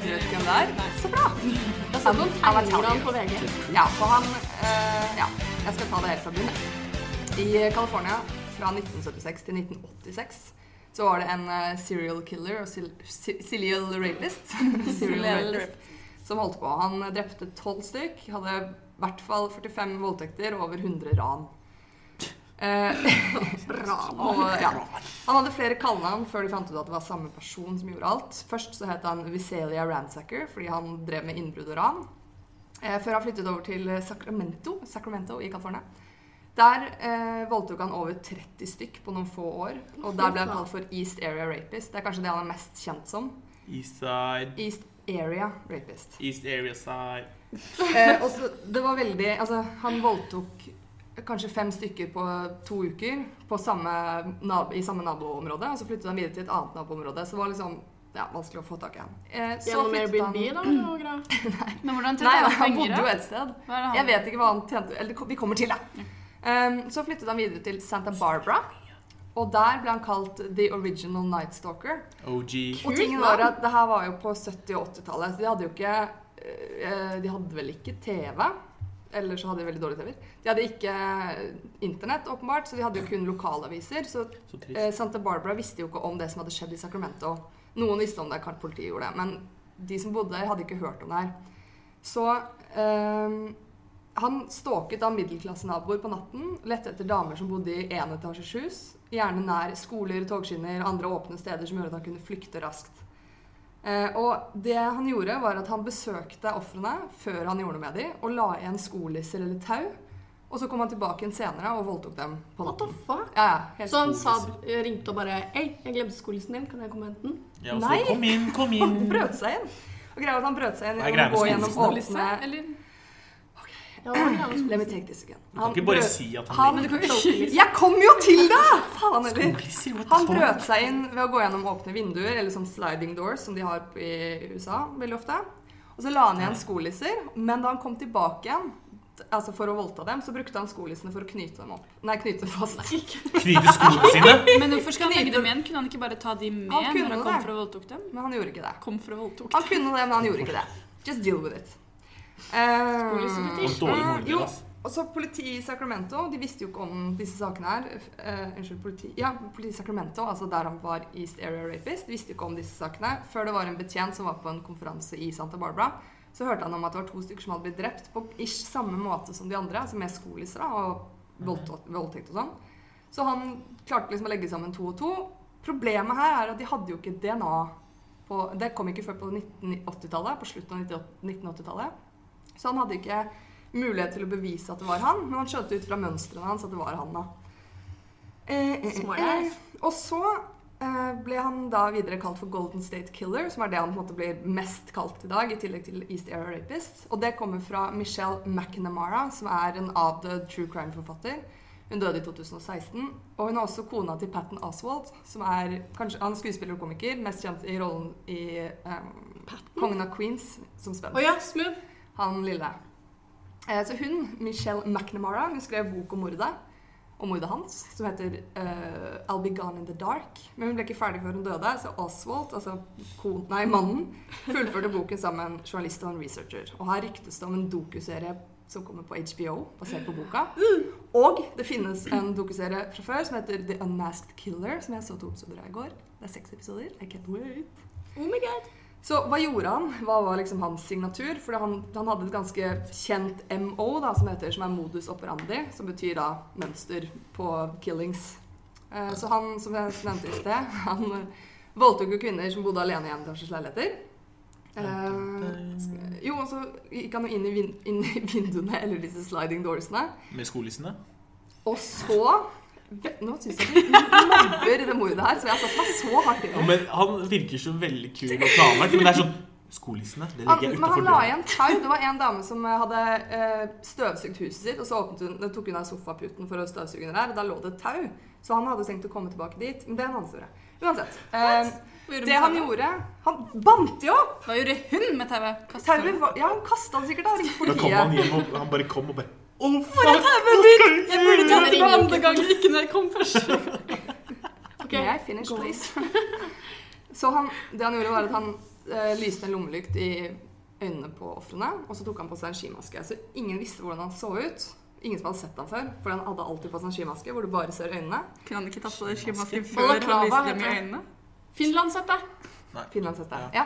S2: vet ikke hvem det er? Så bra!
S4: Jeg så noen
S2: Han er
S4: tegner han
S2: Italian.
S4: på VG.
S2: Ja, for han eh, Ja, jeg skal ta det helt fra begynnelsen. I California fra 1976 til 1986 så var det en eh, serial killer og sil- si- serial rapist Serial rapist som holdt på. Han drepte tolv stykk, hadde i hvert fall 45 voldtekter og over 100 ran. Eh, og, ja. Han hadde flere kallenavn før de fant ut at det var samme person som gjorde alt. Først så het han Visalia Ransacker fordi han drev med innbrudd og ran. Eh, før han flyttet over til Sacramento, Sacramento i California. Der eh, voldtok han over 30 stykk på noen få år. Og der ble han kalt for East Area Rapist. Det er kanskje det han er mest kjent som.
S1: Eastside,
S2: East Area Rapist.
S1: East Area Side.
S2: Eh, og så, det var veldig Altså, han voldtok kanskje fem stykker på to uker på samme nab i samme naboområde. Og så flyttet han videre til et annet naboområde. Så det var liksom ja, vanskelig å få tak i han. Eh, så
S4: Gjennom
S2: flyttet han
S4: Airbnb, da. og greier.
S6: Men hvordan
S2: Nei,
S6: tjente han
S2: han
S6: penger,
S2: bodde jo
S6: da?
S2: et sted.
S6: Hva er det han-
S2: Jeg vet ikke hva han tjente Eller vi kommer til det. Um, så flyttet han videre til Santa Barbara. Og der ble han kalt The Original Night Stalker.
S1: OG.
S2: Og tingen var at det her var jo på 70- og 80-tallet. så De hadde jo ikke eh, De hadde vel ikke TV. Eller så hadde de veldig dårlig TV. De hadde ikke internett, åpenbart, så de hadde jo kun lokalaviser. Så
S1: Så trist.
S2: Eh, Santa Barbara visste jo ikke om det som hadde skjedd i Sacramento. Noen visste om det, kanskje politiet gjorde det, men de som bodde der, hadde ikke hørt om det her. Så ehm, han stalket da middelklassenaboer på natten, lette etter damer som bodde i enetasjes hus, gjerne nær skoler, togskinner, andre åpne steder som gjorde at han kunne flykte raskt. Eh, og det han gjorde, var at han besøkte ofrene før han gjorde noe med dem, og la igjen skolisser eller tau. Og så kom han tilbake igjen senere og voldtok dem på
S4: What the
S2: natten.
S4: fuck?
S2: Ja, ja, helt
S4: Så han sa, eh, ringte og bare Hei, jeg glemte skolissen din. Kan jeg komme og hente den?
S1: Ja, og så,
S2: Nei.
S1: Kom inn, kom
S2: Han
S1: inn.
S2: brøt seg inn. Og greia var at han brøt seg
S1: Hva
S2: inn
S1: er greia
S2: gjennom å
S1: med
S2: gå gjennom
S6: Journalist,
S2: åpne
S6: eller?
S4: Ja, det var greia med
S2: Let me take this again.
S1: Du kan ikke bare
S2: brøt-
S1: si at
S2: han-
S1: han ligger
S2: Jeg kom jo til det! Faen heller.
S1: Lisser, what the
S2: Han
S1: fuck?
S2: brøt seg inn ved å gå gjennom åpne vinduer, eller sånn sliding doors, som de har på- i USA veldig ofte. Og så la han igjen skolisser, men da han kom tilbake igjen, t- altså for å voldta dem, så brukte han skolissene for å knyte dem opp. Nei, knyte dem fast.
S1: Knyter skoene sine.
S6: Men hvorfor skal han legge dem igjen? Kunne han ikke bare ta de med
S2: Han
S6: når
S2: kunne
S6: han
S2: det.
S6: kom for å voldtok dem?
S2: Men han gjorde ikke det.
S6: Kom for å voldtok
S2: Han kunne det, men han gjorde ikke det. Just deal with it. Eh,
S1: Og dårlig morder,
S2: jo,
S1: ass.
S2: og så politiet i Sacramento De visste jo ikke om disse sakene her. Eh, unnskyld, politi, ja, politiet i Sacramento, altså der han var East Area Rapist, de visste jo ikke om disse sakene før det var en betjent som var på en konferanse i Santa Barbara. Så hørte han om at det var to stykker som hadde blitt drept på ish samme måte som de andre, altså med skolisser da, og voldtå- voldtekt og sånn. Så han klarte liksom å legge sammen to og to. Problemet her er at de hadde jo ikke DNA. På, det kom ikke før på 1980-tallet, på slutten av 1980-tallet. Så han hadde ikke mulighet til å bevise at det var han, men han skjønte ut fra mønstrene hans at det var han da. Eh, eh,
S4: Smart
S2: eh,
S4: ass.
S2: Og så eh, ble han da videre kalt for Golden State Killer, som er det han på en måte blir mest kalt i dag, i tillegg til East Area Rapist. Og det kommer fra Michelle McNamara, som er en avdød true crime-forfatter. Hun døde i 2016. Og hun er også kona til Patton Oswald, som er kanskje, han er skuespiller og komiker, mest kjent i rollen i ehm, Kongen av Queens som
S4: Å
S2: spent.
S4: ja, smooth.
S2: Han lille. Eh, så hun, Michelle McNamara, hun skrev bok om mordet. Og mordet hans, som heter eh, I'll Be Gone in the Dark. Men hun ble ikke ferdig før hun døde, så Oswald, altså kon, nei, mannen, fullførte boken sammen med en journalist og en researcher. Og her ryktes det om en dokuserie som kommer på HBO, basert på boka. Og det finnes en dokuserie fra før som heter The Unmasked Killer, som jeg så to episoder av i går. Det er seks episoder. I can't wait.
S4: Oh my god.
S2: Så hva gjorde han? Hva var liksom hans signatur? For han, han hadde et ganske kjent MO, da, som heter, som er modus operandi, som betyr da mønster på killings. Eh, så han, som jeg nevnte i sted, han eh, voldtok jo kvinner som bodde alene i enetasjes leiligheter. Eh, jo, og så gikk han jo inn i, vin inn i vinduene, eller disse sliding doorsene.
S1: Med skolissene.
S2: Og så Nå syns jeg du mobber det mordet her, så jeg har satt meg så hardt i det.
S1: Ja, men han virker så veldig kul og planlagt, men det er sånn Skolissene, det
S2: Han,
S1: legger jeg
S2: men han
S1: utafor
S2: la
S1: døra.
S2: igjen tau. Det var en dame som eh, hadde eh, støvsugd huset sitt, og så åpnet hun, da tok hun av sofaputen for å støvsuge under der, og da lå det et tau. Så han hadde tenkt å komme tilbake dit, men det er en annen historie. Uansett. Eh, det han gjorde Han bandt jo opp!
S6: Hva gjorde hun med tauet? Kastet hun?
S2: Tauet var Ja, han kasta det sikkert, da. Ringte
S1: Da kom han
S2: politiet.
S1: hjem og han bare kom og bare
S2: Å, fuck!
S3: Jeg burde tatt det på andre gang, ikke når jeg kom først.
S2: May I finish, please? så han, det han gjorde, var at han eh, lyste en lommelykt i øynene på ofrene, og så tok han på seg en skimaske. Så ingen visste hvordan han så ut. Ingen som hadde sett ham før, for han hadde alltid på seg en skimaske hvor du bare ser øynene.
S6: Kunne han ikke tatt på deg skimasken før han
S2: Balaklava,
S6: viste dem i
S2: heter det.
S6: øynene?
S4: Finlandshette.
S2: Finlandshette. Ja.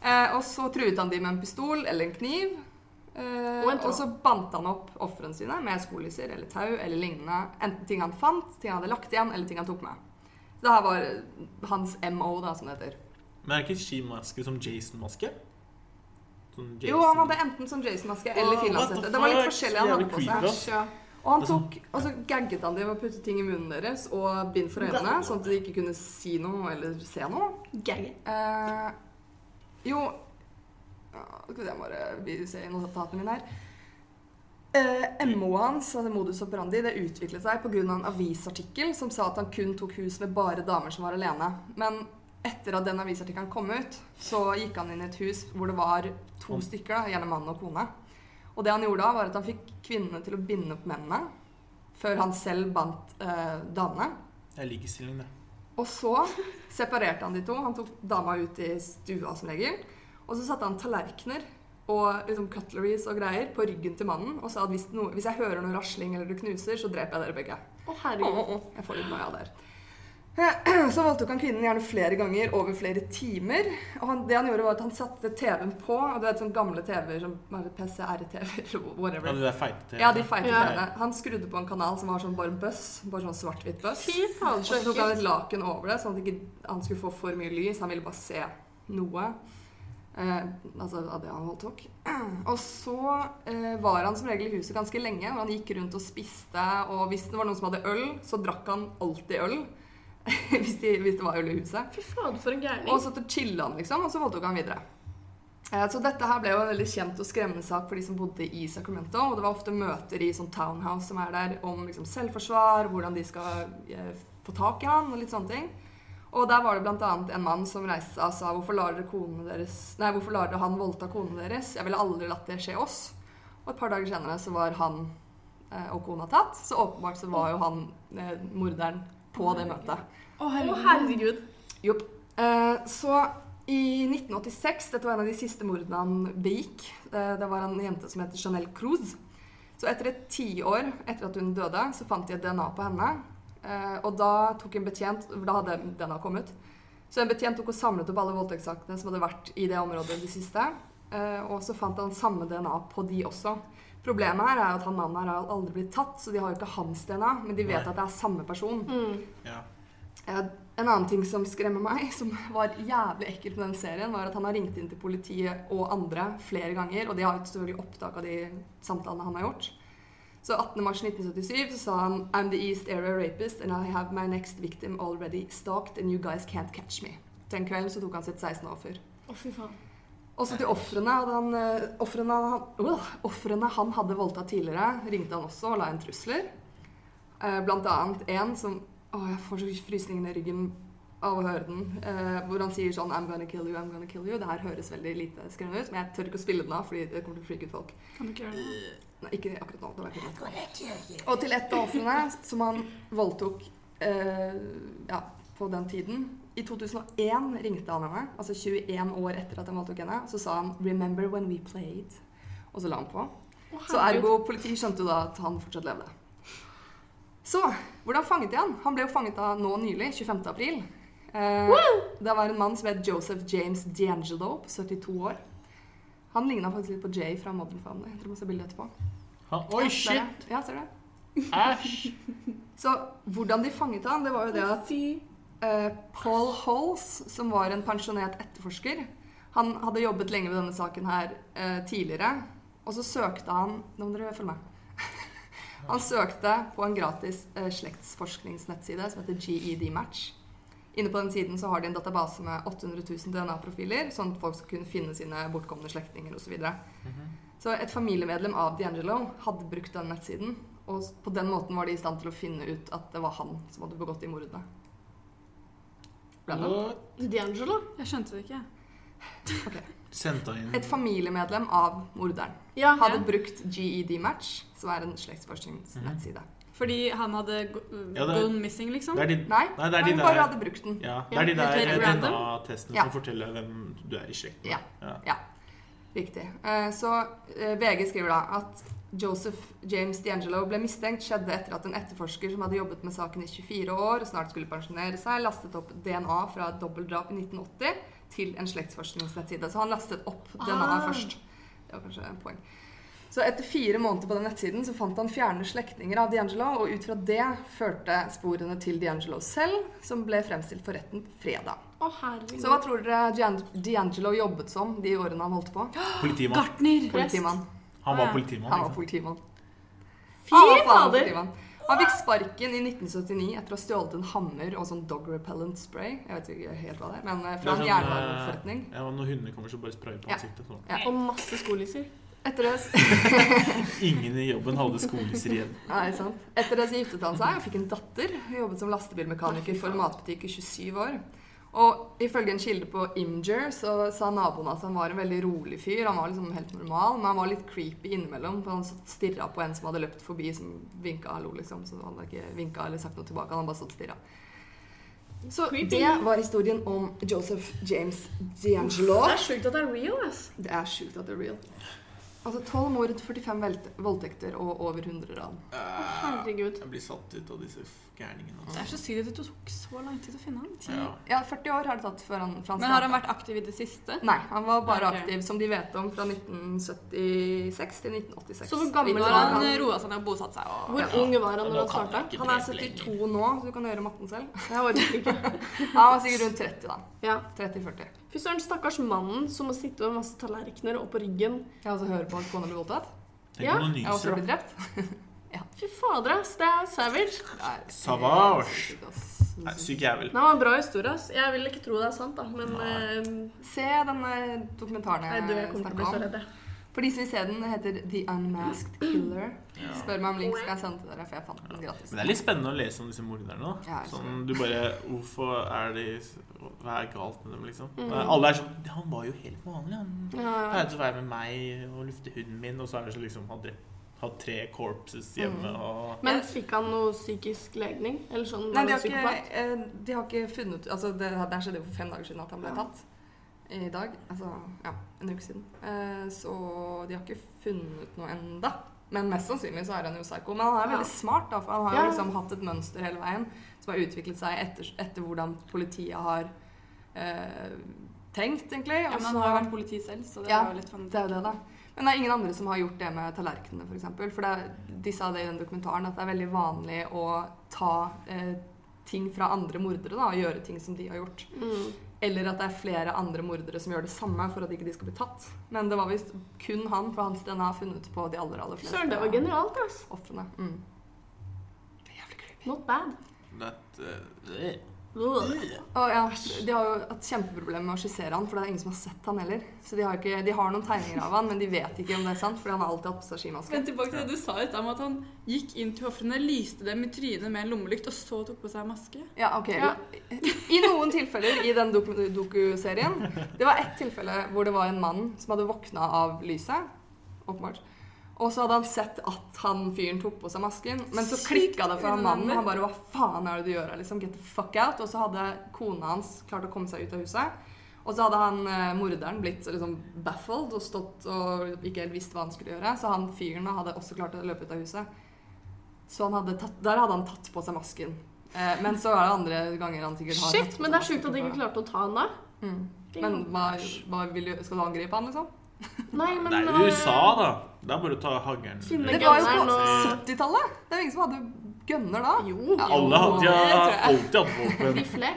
S2: Eh, og så truet han de med en pistol eller en kniv. Eh,
S4: Og en
S2: og,
S4: tråd.
S2: så bandt han opp ofrene sine med skolisser eller tau eller lignende. Enten ting han fant, ting han hadde lagt igjen, eller ting han tok med. Så det her var hans MO, da, som det heter.
S1: Men er det ikke skimaske som Jason-maske? Sånn Jason
S2: Jo, han hadde enten sånn Jason-maske eller
S1: Wow, what
S2: finlandshette.
S1: the
S2: Det var litt
S1: fuck?
S2: forskjellig han hadde
S1: Jævlig
S2: på
S1: creepy,
S2: seg.
S1: ass.
S4: Æsj, ja.
S2: Og han
S1: Det er sånn-
S2: tok, og så gagget han dem og puttet ting i munnen deres og bind for øynene, sånn at de ikke kunne si noe eller se noe.
S4: Gagget.
S2: Eh, jo Ja, Skal vi se, jeg må bare se i notatene mine her. Eh, MO-et hans, altså modus operandi, det utviklet seg pga. en avisartikkel som sa at han kun tok hus med bare damer som var alene. Men etter at den avisartikkelen kom ut, så gikk han inn i et hus hvor det var to stykker, da, gjerne mann og kone. Og det han gjorde da, var at han fikk kvinnene til å binde opp mennene før han selv bandt eh, damene.
S1: Det er likestilling, det.
S2: Og så separerte han de to. Han tok dama ut i stua som regel. Og så satte han tallerkener og liksom cutleries og greier på ryggen til mannen og sa at hvis, noe, hvis jeg hører noe rasling eller du knuser, så dreper jeg dere begge.
S4: Å, herregud.
S2: Jeg får litt noia der. Så voldtok han kvinnen gjerne flere ganger over flere timer. Og han, det han gjorde, var at han satte TV-en på. Og du vet sånne gamle TV-er som bare PCR-TV-er og
S1: Ja,
S2: whatever.
S1: det der feite til.
S2: Ja, de feite
S4: Ja.
S2: TV-ene. Han skrudde på en kanal som var sånn bare en bøss. Bare sånn svart-hvitt bøss.
S4: Fy faen,
S2: Og
S4: så
S2: så tok han
S4: ekkelt.
S2: et laken over det, sånn at ikke han skulle få for mye lys. Han ville bare se noe. Eh, altså av det han voldtok. Og så eh, var han som regel i huset ganske lenge. Og han gikk rundt og spiste, og hvis det var noen som hadde øl, så drakk han alltid øl. hvis, de, hvis det var øl i huset.
S4: Fy faen, for en
S2: Og
S4: gærning.
S2: så chilla han, liksom, og så voldtok han videre. Eh, Så dette her ble jo en veldig kjent og skremmende sak for de som bodde i Sacramento. Og det var ofte møter i sånn townhouse som er der, om liksom selvforsvar, hvordan de skal eh, få tak i han, og litt sånne ting. Og der var det bl.a. en mann som reiste seg og sa hvorfor lar dere, konene deres, nei, hvorfor lar dere han voldta konene deres? Jeg ville aldri latt det skje oss. Og et par dager senere så var han eh, og kona tatt. Så åpenbart så var jo han eh, morderen på det møtet.
S6: Å,
S4: Å,
S6: herregud.
S4: herregud.
S2: Jopp. Eh, så i 1986, dette var en av de siste mordene han begikk, eh, det var en jente som heter Chanel Cruz. Så etter et tiår etter at hun døde, så fant de et DNA på henne. Eh, og da tok en betjent for Da hadde DNA kommet. Så en betjent tok og samlet opp alle voldtektssakene som hadde vært i det området de siste. Eh, og så fant han samme DNA på de også. Problemet her er at han mannen her har aldri blitt tatt, så de har jo ikke hans DNA, men de vet
S1: Nei.
S2: at det er samme person.
S1: Ja.
S2: Eh, En annen ting som skremmer meg, som var jævlig ekkelt med den serien, var at han har ringt inn til politiet og andre flere ganger, og de har jo selvfølgelig opptak av de samtalene han har gjort. Så 18. mars 1977 så sa han I'm the East Area Rapist and I have my next victim already stalked and you guys can't catch me. Den kvelden så tok han sitt 16. offer.
S4: Å, fy faen.
S2: Også til ofrene. hadde han, eh, Ofrene han, øh, ofrene han hadde voldtatt tidligere, ringte han også og la inn trusler. Eh, Blant annet en som Å, jeg får så frysninger i ryggen av å høre den. eh, Hvor han sier sånn I'm gonna kill you, I'm gonna kill you. Det her høres veldig lite skremmende ut, men jeg tør ikke å spille den av, fordi det kommer til å freake ut folk.
S6: Kan du ikke gjøre det?
S2: Nei, ikke akkurat nå. Det var ikke det. Og til et av ofrene som han voldtok eh, ja, på den tiden. I 2001 ringte han henne, altså 21 år etter at han voldtok henne. Så sa han 'Remember when we played', og så la han på.
S4: Å,
S2: Så
S4: herregud.
S2: ergo politiet skjønte jo da at han fortsatt levde. Så hvordan fanget de han? Han ble jo fanget av nå nylig, 25. april. Eh, det var en mann som het Joseph James D'Angelo på 72 år. Han ligna faktisk litt på Jay fra Modern Family. Jeg tror man ser bildet etterpå.
S1: Han, oi,
S2: Ja, der, ja.
S1: shit!
S2: Ja, ser du det?
S1: Æsj!
S2: Så hvordan de fanget han, det var jo det at
S4: Fy.
S2: eh, Paul Holes, som var en pensjonert etterforsker, han hadde jobbet lenge med denne saken her eh, tidligere, og så søkte han Nå må dere følge med. Han søkte på en gratis eh, slektsforskningsnettside som heter GED E Match. Inne på den siden så har de en database med 800 000 DNA-profiler, sånn at folk skal kunne finne sine bortkomne slektninger osv. Så, videre.
S1: Mhm.
S2: så et familiemedlem av D'Angelo hadde brukt den nettsiden, og s- på den måten var de i stand til å finne ut at det var han som hadde begått de mordene. Blant annet.
S1: What?
S4: D'Angelo?
S3: Jeg skjønte det ikke.
S1: Sendte han
S2: Et
S1: inn
S2: familiemedlem av morderen
S4: Ja.
S2: hadde brukt GED-match, som er en slektsforskningsnettside.
S1: Mhm.
S3: Fordi han hadde gå-
S1: Ja, det er-
S3: gone missing, liksom?
S1: Det er de,
S2: Nei,
S1: nei, det er de
S2: han bare
S1: der
S2: hadde brukt den.
S1: ja, det er de
S4: Ja,
S1: der
S4: helt random.
S1: DNA-testene
S2: Ja.
S1: som forteller hvem du er i slekt med.
S2: Ja. Riktig. Eh, Så eh, VG skriver da at Joseph James D'Angelo ble mistenkt skjedde etter at en etterforsker som hadde jobbet med saken i 24 år og snart skulle pensjonere seg, lastet opp DNA fra et dobbeltdrap i 1980 til en slektsforskningsnettside. Så han lastet opp DNA
S4: Ah.
S2: først. Det var kanskje et poeng. Så etter fire måneder på den nettsiden så fant han fjerne slektninger av D'Angelo, og ut fra det førte sporene til D'Angelo selv, som ble fremstilt for retten på fredag.
S4: Å, herregud.
S2: Så hva tror dere Gian- D'Angelo jobbet som de årene han holdt på?
S1: Politimann.
S3: Gartner!
S2: Politimann.
S1: Han var politimann.
S2: Han var
S1: Liksom.
S2: politimann.
S4: Fy
S2: Han var faen
S4: fader!
S2: politimann. Han fikk sparken i 1979 etter å ha stjålet en hammer og sånn dog repellent spray. Jeg vet ikke helt hva det er, men eh, fra
S1: Det er
S2: en
S1: sånn,
S2: jernbaneforretning.
S1: Ja, og når hundene kommer, så bare sprayer på
S2: Ja.
S1: ansiktet. Sånn.
S4: Og masse skolisser.
S1: eh,
S2: Etter det,
S1: Ingen i jobben hadde skoleser igjen.
S2: nei, sant. Etter det så giftet han seg og fikk en datter. Hun jobbet som lastebilmekaniker for en matbutikk i 27 år. Og ifølge en kilde på Imgur så sa naboen at han var en veldig rolig fyr. Han var liksom helt normal, men han var litt creepy innimellom. For han stirra på en som hadde løpt forbi som vinka hallo, liksom. Så han hadde ikke vinka eller sagt noe tilbake. Han hadde bare stått og stirra. Så
S4: Creepy.
S2: det var historien om Joseph James D'Angelo.
S4: Det er sjukt at det er real, ass.
S2: Det er sjukt at det er real. Altså 12 mord, 45 velt- voldtekter og over 100 ran.
S4: Herregud.
S1: Jeg blir satt ut av disse f- gærningene.
S3: Det
S1: altså.
S3: er så sykt at det tok så lang tid å finne han.
S1: Ja.
S2: Ja, 40 år har det tatt før han fra
S3: Men har han vært aktiv i det siste?
S2: Nei, han var bare
S3: Ok.
S2: aktiv, som de vet om, fra 1976 til 1986.
S4: Så hvor gammel
S2: Litt sånn-
S4: var
S3: Nå har
S2: over da.
S3: han roa seg ned og bosatt seg og
S4: Hvor ung var han
S1: kan
S4: når han starta?
S1: jeg ikke
S2: Han er
S1: drepe lenger.
S2: 72 nå, så du kan gjøre matten selv.
S4: Jeg orker ikke.
S2: Han var sikkert rundt 30, da.
S4: Ja.
S2: 30-40.
S4: Fy søren, stakkars mannen som må sitte med masse tallerkener oppå ryggen.
S2: Jeg også hører på at kona blir voldtatt.
S1: Tenk
S4: Ja,
S1: om noen
S2: Jeg har
S1: nyser,
S2: også
S1: da.
S2: blitt drept.
S4: Fy fader, ass. Det er savage.
S2: Det er-
S1: Savage. Nei, Syk jævel.
S4: Det var en bra historie, ass. Jeg vil ikke tro det er sant, da, men
S1: Nei.
S4: eh,
S2: Se den eh, dokumentaren
S4: Nei, du, jeg
S2: jeg
S4: kommer til å
S2: snakka
S4: bli så
S2: om.
S4: redd. jeg.
S2: For de som vil se den, den heter The Unmasked Killer.
S1: Ja.
S2: Spør meg om link, skal jeg sende til dere, for jeg fant den gratis.
S1: Men det er litt spennende å lese om disse morderne. da.
S2: Ja, jeg
S1: Sånn, du bare Hvorfor er de Hva er galt med dem, liksom? Alle er sånn Han var jo helt vanlig, han.
S4: Ja, ja.
S1: Pleide å være med meg og lufte hunden min, og så er det så liksom Han har tre corpses hjemme og
S4: Men fikk han noe psykisk legning? Eller sånn?
S2: Nei,
S4: var
S2: de
S4: han
S2: har, ikke,
S4: psykopat?
S2: eh, de har ikke funnet Altså, det, det her skjedde jo for fem dager siden at han ble
S4: Ja.
S2: tatt. I dag. Altså, ja, en uke siden. Eh, så de har ikke funnet noe enda. Men mest sannsynlig så er han jo psyko. Men han er
S4: Ja.
S2: veldig smart, da, for han har jo
S4: Ja.
S2: liksom hatt et mønster hele veien som har utviklet seg etter, etter hvordan politiet har eh, tenkt, egentlig.
S3: Ja,
S2: Og
S3: men han
S2: så-
S3: har jo vært politi selv, så det
S2: Ja.
S3: er jo litt fan-
S2: det er jo det, da. Men det er ingen andre som har gjort det med tallerkenene, f.eks. For, eksempel. for det er, de sa det i den dokumentaren at det er veldig vanlig å ta eh, ting fra andre mordere da, og gjøre ting som de har gjort.
S4: Mm.
S2: Eller at det er flere andre mordere som gjør det samme for at ikke de skal bli tatt. Men det var visst kun han, for hans DNA har funnet på de aller aller
S4: Søren, det var
S2: fleste
S4: genialt, ass.
S2: ofrene. Mm. Det er jævlig creepy.
S4: Not bad.
S1: That, eh,
S4: Ugh.
S2: Og ja, de har jo hatt kjempeproblemer med å skissere han, for det er ingen som har sett han heller. Så de har, ikke, de har noen tegninger av han, men de vet ikke om det er sant, fordi han har alltid hatt på seg skimaske.
S3: Men tilbake til det du sa i stad om at han gikk inn til ofrene, lyste dem i trynet med en lommelykt og så tok på seg maske.
S2: Ja, ok.
S4: Ja.
S2: I noen tilfeller i den doku- doku-serien Det var ett tilfelle hvor det var en mann som hadde våkna av lyset. Åpenbart. Og så hadde han sett at han fyren tok på seg masken, men så
S3: Sykt
S2: klikka det for han mannen.
S3: irriterende.
S2: Han bare 'Hva faen er det du gjør?' her, liksom. Get the fuck out. Og så hadde kona hans klart å komme seg ut av huset. Og så hadde han eh, morderen blitt så liksom baffled og stått og ikke helt visst hva han skulle gjøre. Så han fyren hadde også klart å løpe ut av huset. Så han hadde tatt, der hadde han tatt på seg masken. Eh, men så er det andre ganger han sikkert har
S4: Shit, men det er sjukt at de ikke klarte å ta han da.
S2: Mm. Men hva, hva vil du, skal du angripe han, liksom?
S4: Nei, men
S1: Det er
S4: eh,
S1: jo USA, da. Det er bare å ta haglen.
S4: Finne
S2: Det
S1: Eller-
S2: var jo
S4: gunneren
S2: på
S4: og-
S2: 70-tallet! Det er jo ingen som hadde gønner da.
S4: Jo,
S2: Ja,
S1: Alle hadde
S2: det
S1: ja,
S2: tror jeg.
S1: alltid hatt våpen.
S4: rifle.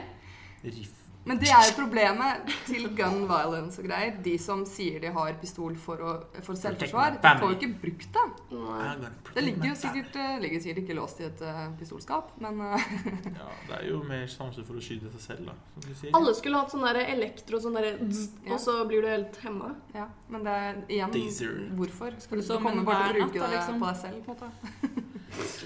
S1: Riff.
S2: Men det er jo problemet til gun violence og greier. De som sier de har pistol for, å, for selvforsvar, de får jo ikke brukt
S4: Nei.
S2: det.
S1: I'm gonna
S2: Det
S1: protect
S2: ligger jo
S1: my family.
S2: sikkert, eh, ligger sikkert ikke låst i et eh, pistolskap, men eh,
S1: Ja, det er jo mer sjanse for å skyte seg selv, da. Som du sier.
S4: Alle skulle hatt sånn der elektro, sånn der dzz,
S2: Ja.
S4: og så blir du helt hemma.
S2: ja. Men det er igjen
S1: Taser.
S2: Hvorfor? Skal du
S3: Så,
S2: komme
S3: men
S2: bare til å
S3: hver
S2: bruke
S3: natt, da,
S2: det
S3: liksom?
S2: på deg selv, på en måte?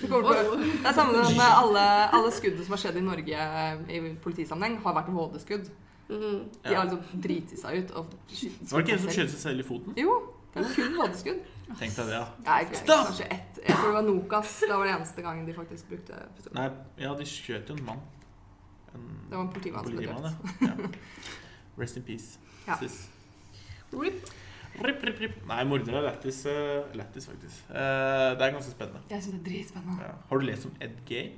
S2: Du kommer til å- Det er samme med alle, alle skuddene som har skjedd i Norge eh, i politisammenheng, har vært vådeskudd.
S4: Mhm.
S2: De
S1: Ja.
S2: har liksom driti seg ut og skutt
S1: Var det ikke en som
S2: seg
S1: skjøt seg selv i foten?
S2: Jo, det var kun vådeskudd.
S1: Tenk deg det, ja.
S2: Nei, ikke-
S1: Stopp!
S2: kanskje ett. Jeg tror det var Nokas. Det var det eneste gangen de faktisk brukte pistol.
S1: Nei, ja, de skjøt jo en mann. En
S2: Det var en politimann som ble
S1: politimann,
S2: drept.
S1: ja. ja. Rest in peace.
S2: Ja.
S1: Sis.
S4: Rip.
S1: Rip, rip, rip. Nei, mordere er lættis, eh, lættis faktisk. Eh, det er ganske spennende.
S2: Jeg syns det er dritspennende.
S1: Ja. Har du lest om Ed Gay?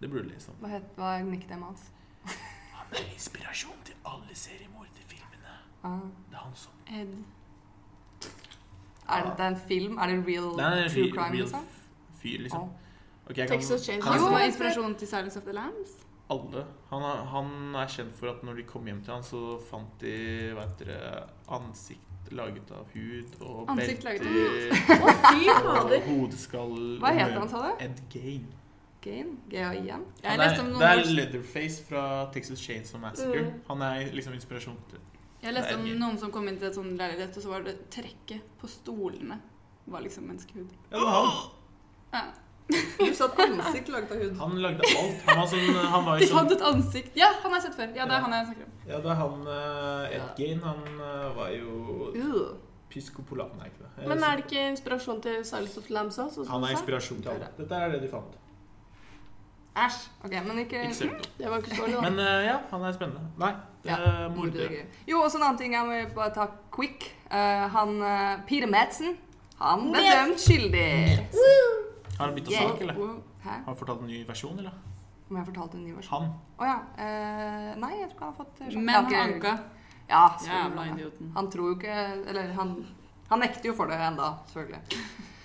S1: Det burde du lese om.
S2: Hva het hva er nicknamet hans?
S1: Han er inspirasjon til alle seriemorderfilmene.
S2: Ah.
S1: Det er han som
S3: Ed.
S2: Er dette en film? Er det real
S1: Ah. Det er en
S2: true
S1: re-
S2: crime,
S1: real
S2: liksom?
S1: fyr, liksom.
S2: Ah.
S1: Ok, jeg
S4: Texas
S1: kan, kan
S4: Chainsaw.
S1: jeg
S3: Han
S2: Jo,
S3: som er
S2: jeg tror-
S3: inspirasjonen til Silence of the Lambs.
S1: Alle. Han er, han er kjent for at når de kom hjem til han, så fant de hva heter det, ansikt laget av hud og
S3: Ansikt laget av
S1: belter
S4: Å, fy
S1: og
S4: fader.
S1: hodeskall.
S2: Hva heter han, sa du?
S1: Ed Gain.
S2: Gain? G-A-I-N?
S3: Jeg
S1: Han er,
S3: leste om
S1: det
S3: noen,
S1: er
S3: norsk-
S1: Leatherface fra Texas Chainsaw Massacre.
S4: Mm.
S1: Han er liksom inspirasjon til
S3: jeg leste om
S1: Nei.
S3: noen som kom inn til et sånn leilighet, og så var det trekket på stolene var liksom menneskehud.
S1: Ja, det var han.
S3: Ja.
S2: Du sa et ansikt laget av hud.
S1: Han lagde alt. Han var sånn Han var
S3: De
S1: jo sånn
S3: hadde et ansikt. Ja, han har jeg sett før. Ja, det er han jeg snakker om.
S1: Ja, det er han eh, Ed Gain. Han eh, var jo
S2: Uh.
S1: pyskopolat, nei, ikke det. Eh,
S4: Men er det ikke inspirasjon til Silence of the Lambs også? som
S1: Han
S4: du
S1: er
S4: sa?
S1: inspirasjon til alle. Dette er det de fant.
S2: Æsj. Ok, men ikke,
S1: Ikke søk opp.
S4: Det var ikke så dårlig, da.
S1: Men eh, ja, han er spennende. Nei, eh, det
S2: Ja,
S1: er
S2: Mordere.
S1: mordere.
S2: Jo, og så en annen ting jeg må bare ta quick. Eh, han eh, Peter Madsen, han ble dømt skyldig.
S1: Har han bytta
S2: Yeah.
S1: sak, eller?
S2: Hæ?
S1: Har han fortalt en ny versjon, eller?
S2: Om jeg fortalte en ny versjon?
S1: Han.
S2: Å ja. eh, nei, jeg tror ikke han har fått eh, sjansen.
S3: Men
S2: Jeg har
S3: han
S2: ikke-
S3: anka.
S2: Ja,
S3: Jævla
S2: selvfølgelig.
S3: idioten.
S2: Han tror jo ikke Eller han, han nekter jo for det enda, selvfølgelig.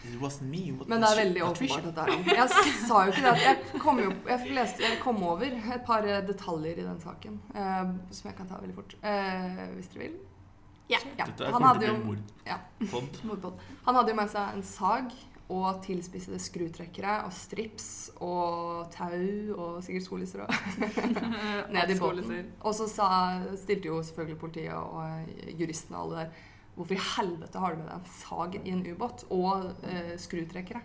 S1: It wasn't me. what
S2: Men det
S1: was
S2: er veldig
S1: she-
S2: åpenbart at det er han. Jeg sa jo ikke det. at Jeg kom, jo, jeg leste, jeg kom over et par eh, detaljer i den saken eh, som jeg kan ta veldig fort. Eh, hvis dere vil.
S4: Ja.
S2: ja.
S1: Dette er
S2: Han hadde jo
S1: mord.
S2: ja.
S1: Pod.
S2: Mordbånd. Han hadde jo med seg en sag og tilspissede skrutrekkere og strips og tau og sikkert solisser òg. Ned i båten. Og så sa, stilte jo selvfølgelig politiet og juristene og alle der Hvorfor i helvete har du med deg en sag i en ubåt og eh, skrutrekkere?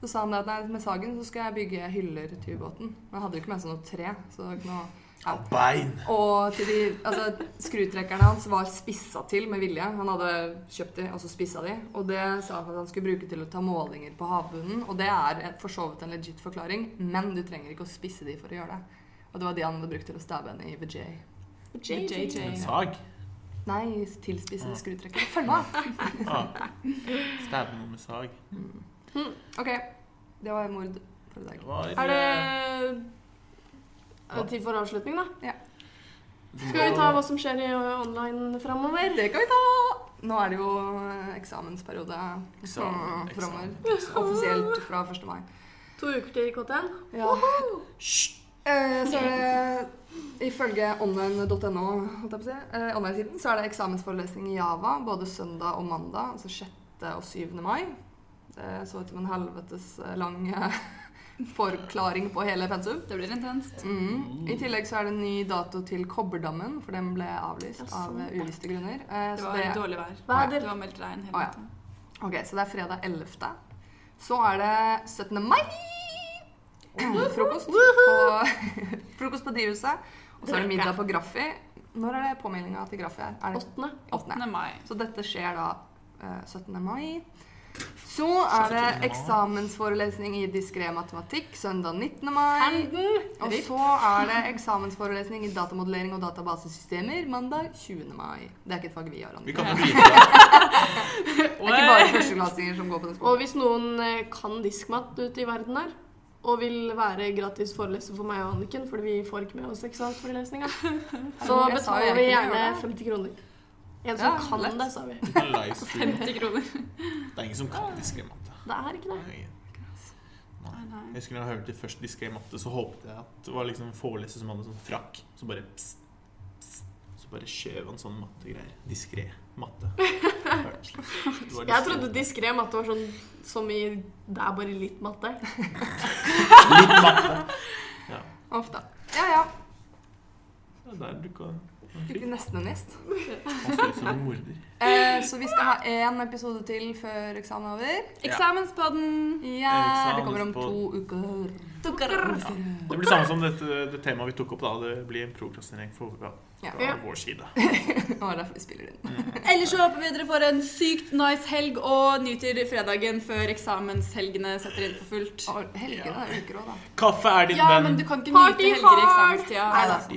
S2: Så sa han det at nei, med sagen så skal jeg bygge hyller til ubåten. Men jeg hadde jo ikke med seg noe tre. så det var ikke noe... Ja.
S1: Bein.
S2: Og til de, altså, skrutrekkerne hans var spissa til med vilje. Han hadde kjøpt de, og så spissa de. Og det sa han at han skulle bruke til å ta målinger på havbunnen. Og det er en- for så vidt en legit forklaring, men du trenger ikke å spisse de for å gjøre det. Og det var de han hadde brukt til å stabbe henne i Vijay.
S4: JJ.
S1: En sag.
S2: Nei, tilspissede skrutrekkere. Følg med!
S1: Ah. Stabbe noen med sag.
S2: Mm. Ok, det var mord for i
S1: Det
S2: dag.
S1: var eh,
S4: Er det Er det tid for avslutning, da? Skal vi ta hva som skjer i ø, online framover?
S2: Det kan vi ta! Nå er det jo eh, eksamensperiode
S1: Eksamen,
S2: Mm,
S1: eksamen,
S2: framover. offisielt fra 1. mai.
S4: To uker til KTN.
S2: Ja. Eh, Så er det ifølge online.no, holdt jeg på å si, eh, online-siden, så er det eksamensforelesning i Java både søndag og mandag, altså 6. og 7. mai. Det så ut som en helvetes eh, lang eh, forklaring på hele pensum.
S3: Det blir intenst.
S2: Mm. I tillegg så er det en ny dato til Kobberdammen, for den ble avlyst
S4: Ja,
S2: av
S4: sånn.
S2: eh, uvisste grunner. Eh,
S3: Det
S2: så
S3: var
S2: det-
S3: dårlig vær.
S4: Væder.
S3: Det var meldt regn hele
S2: Å, ja.
S3: natta.
S2: Ok, så det er fredag 11. Så er det 17. mai. Frokost på, frokost på Drivhuset. Og så er det middag på Graffi. Når er det påmeldinga til Graffi her? Er det
S4: Åttende.
S2: 8.
S3: 8. mai.
S2: Så dette skjer da eh, 17. mai. Så er
S1: 17. mai.
S2: det eksamensforelesning i diskré matematikk søndag 19. mai.
S4: Handen.
S2: Og så er det eksamensforelesning i datamodellering og databasesystemer mandag 20. mai. Det er ikke et fag vi har.
S1: Vi
S2: Anders.
S1: kan jo bidra.
S2: Det er ikke bare førsteklassinger som går på den skolen.
S4: Og hvis noen eh, kan diskmat ute i verden her, og vil være gratis foreleser for meg og Anniken, fordi vi får ikke med oss eksamensforelesninga, så
S2: Jeg sa jo
S4: betaler
S2: jeg
S4: vi
S2: kunne
S4: gjerne
S2: gjøre det.
S4: 50 kroner. En som
S2: Ja,
S4: kan
S2: lett.
S4: det, sa vi.
S1: Vi kan livestream.
S3: 50 kroner.
S1: Det er ingen som kan diskré matte.
S4: Det er ikke det.
S1: Nei. Jeg husker da jeg hørte først diskré matte, så håpet jeg at det var liksom en foreleser som hadde sånn frakk. Så bare pst, Så bare skjøv han sånn mattegreier. Diskré matte.
S4: Jeg trodde diskré matte var sånn som i Det er bare litt matte.
S2: Mm.
S1: Litt matte.
S2: Ofte. Ja, ja.
S1: Ja, Der dukka
S2: Fikk vi nesten en gjest.
S1: Han ser ut som en morder.
S2: Eh, så vi skal ha én episode til før eksamen er over.
S3: Eksamenspodden.
S2: Ja, det kommer om
S1: Eksamen
S2: to uker.
S1: Det blir samme som dette, det temaet vi tok opp da. Det blir en prokrastinering for- fra, fra
S4: Ja.
S1: vår side. Mm.
S2: Det var derfor vi spiller inn.
S3: Ellers så håper vi dere får en sykt nice helg og nyter fredagen før eksamenshelgene setter inn for fullt.
S2: Og Helgene er uker òg, da.
S1: Kaffe er din
S3: Ja, men
S1: venn.
S3: du kan ikke
S4: Party
S3: nyte helger i
S4: hard!
S2: Nei da.
S3: eksamenstida.
S1: De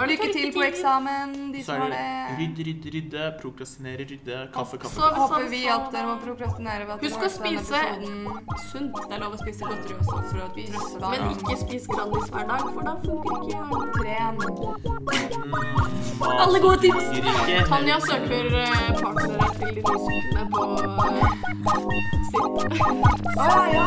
S1: har
S2: Lykke til på eksamen, de
S1: Så
S2: som
S1: er
S2: har
S1: det
S2: det.
S1: rydd, rydd, rydde, prokrastinere, rydde, kaffe, kaffe.
S4: Så-
S1: kaffe.
S2: Håper vi at dere må prokrastinere. ved at dere
S4: Husk å
S2: hørte denne
S4: spise.
S2: episoden.
S4: Sunt.
S3: Det er lov å spise godteri også for å trøste deg.
S4: Men ikke spis Grandis hver dag, for da funker ikke hjernen.
S2: Tren.
S3: Alle gode tips.
S1: Ikke.
S4: Tanja søker eh, partnere til de nye sultne på eh, sitt.
S2: Å, ja.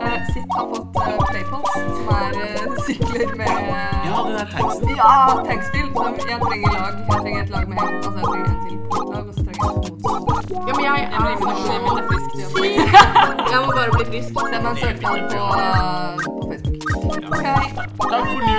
S2: Eh, Sitt har fått eh, Playpods, som er eh, sykler med eh,
S1: Ja, den er teksten.
S2: Ja, tankspill. Så Jeg trenger lag. Jeg trenger et lag med Altså, jeg trenger en til på et lag, og så trenger jeg et mot.
S4: Ja, men jeg
S3: Jeg blir
S4: er
S3: fornøyd med det friske igjen.
S4: Jeg må bare bli frisk.
S2: Send meg en søknad på, eh, på Facebook. Ok.
S1: Takk for nå.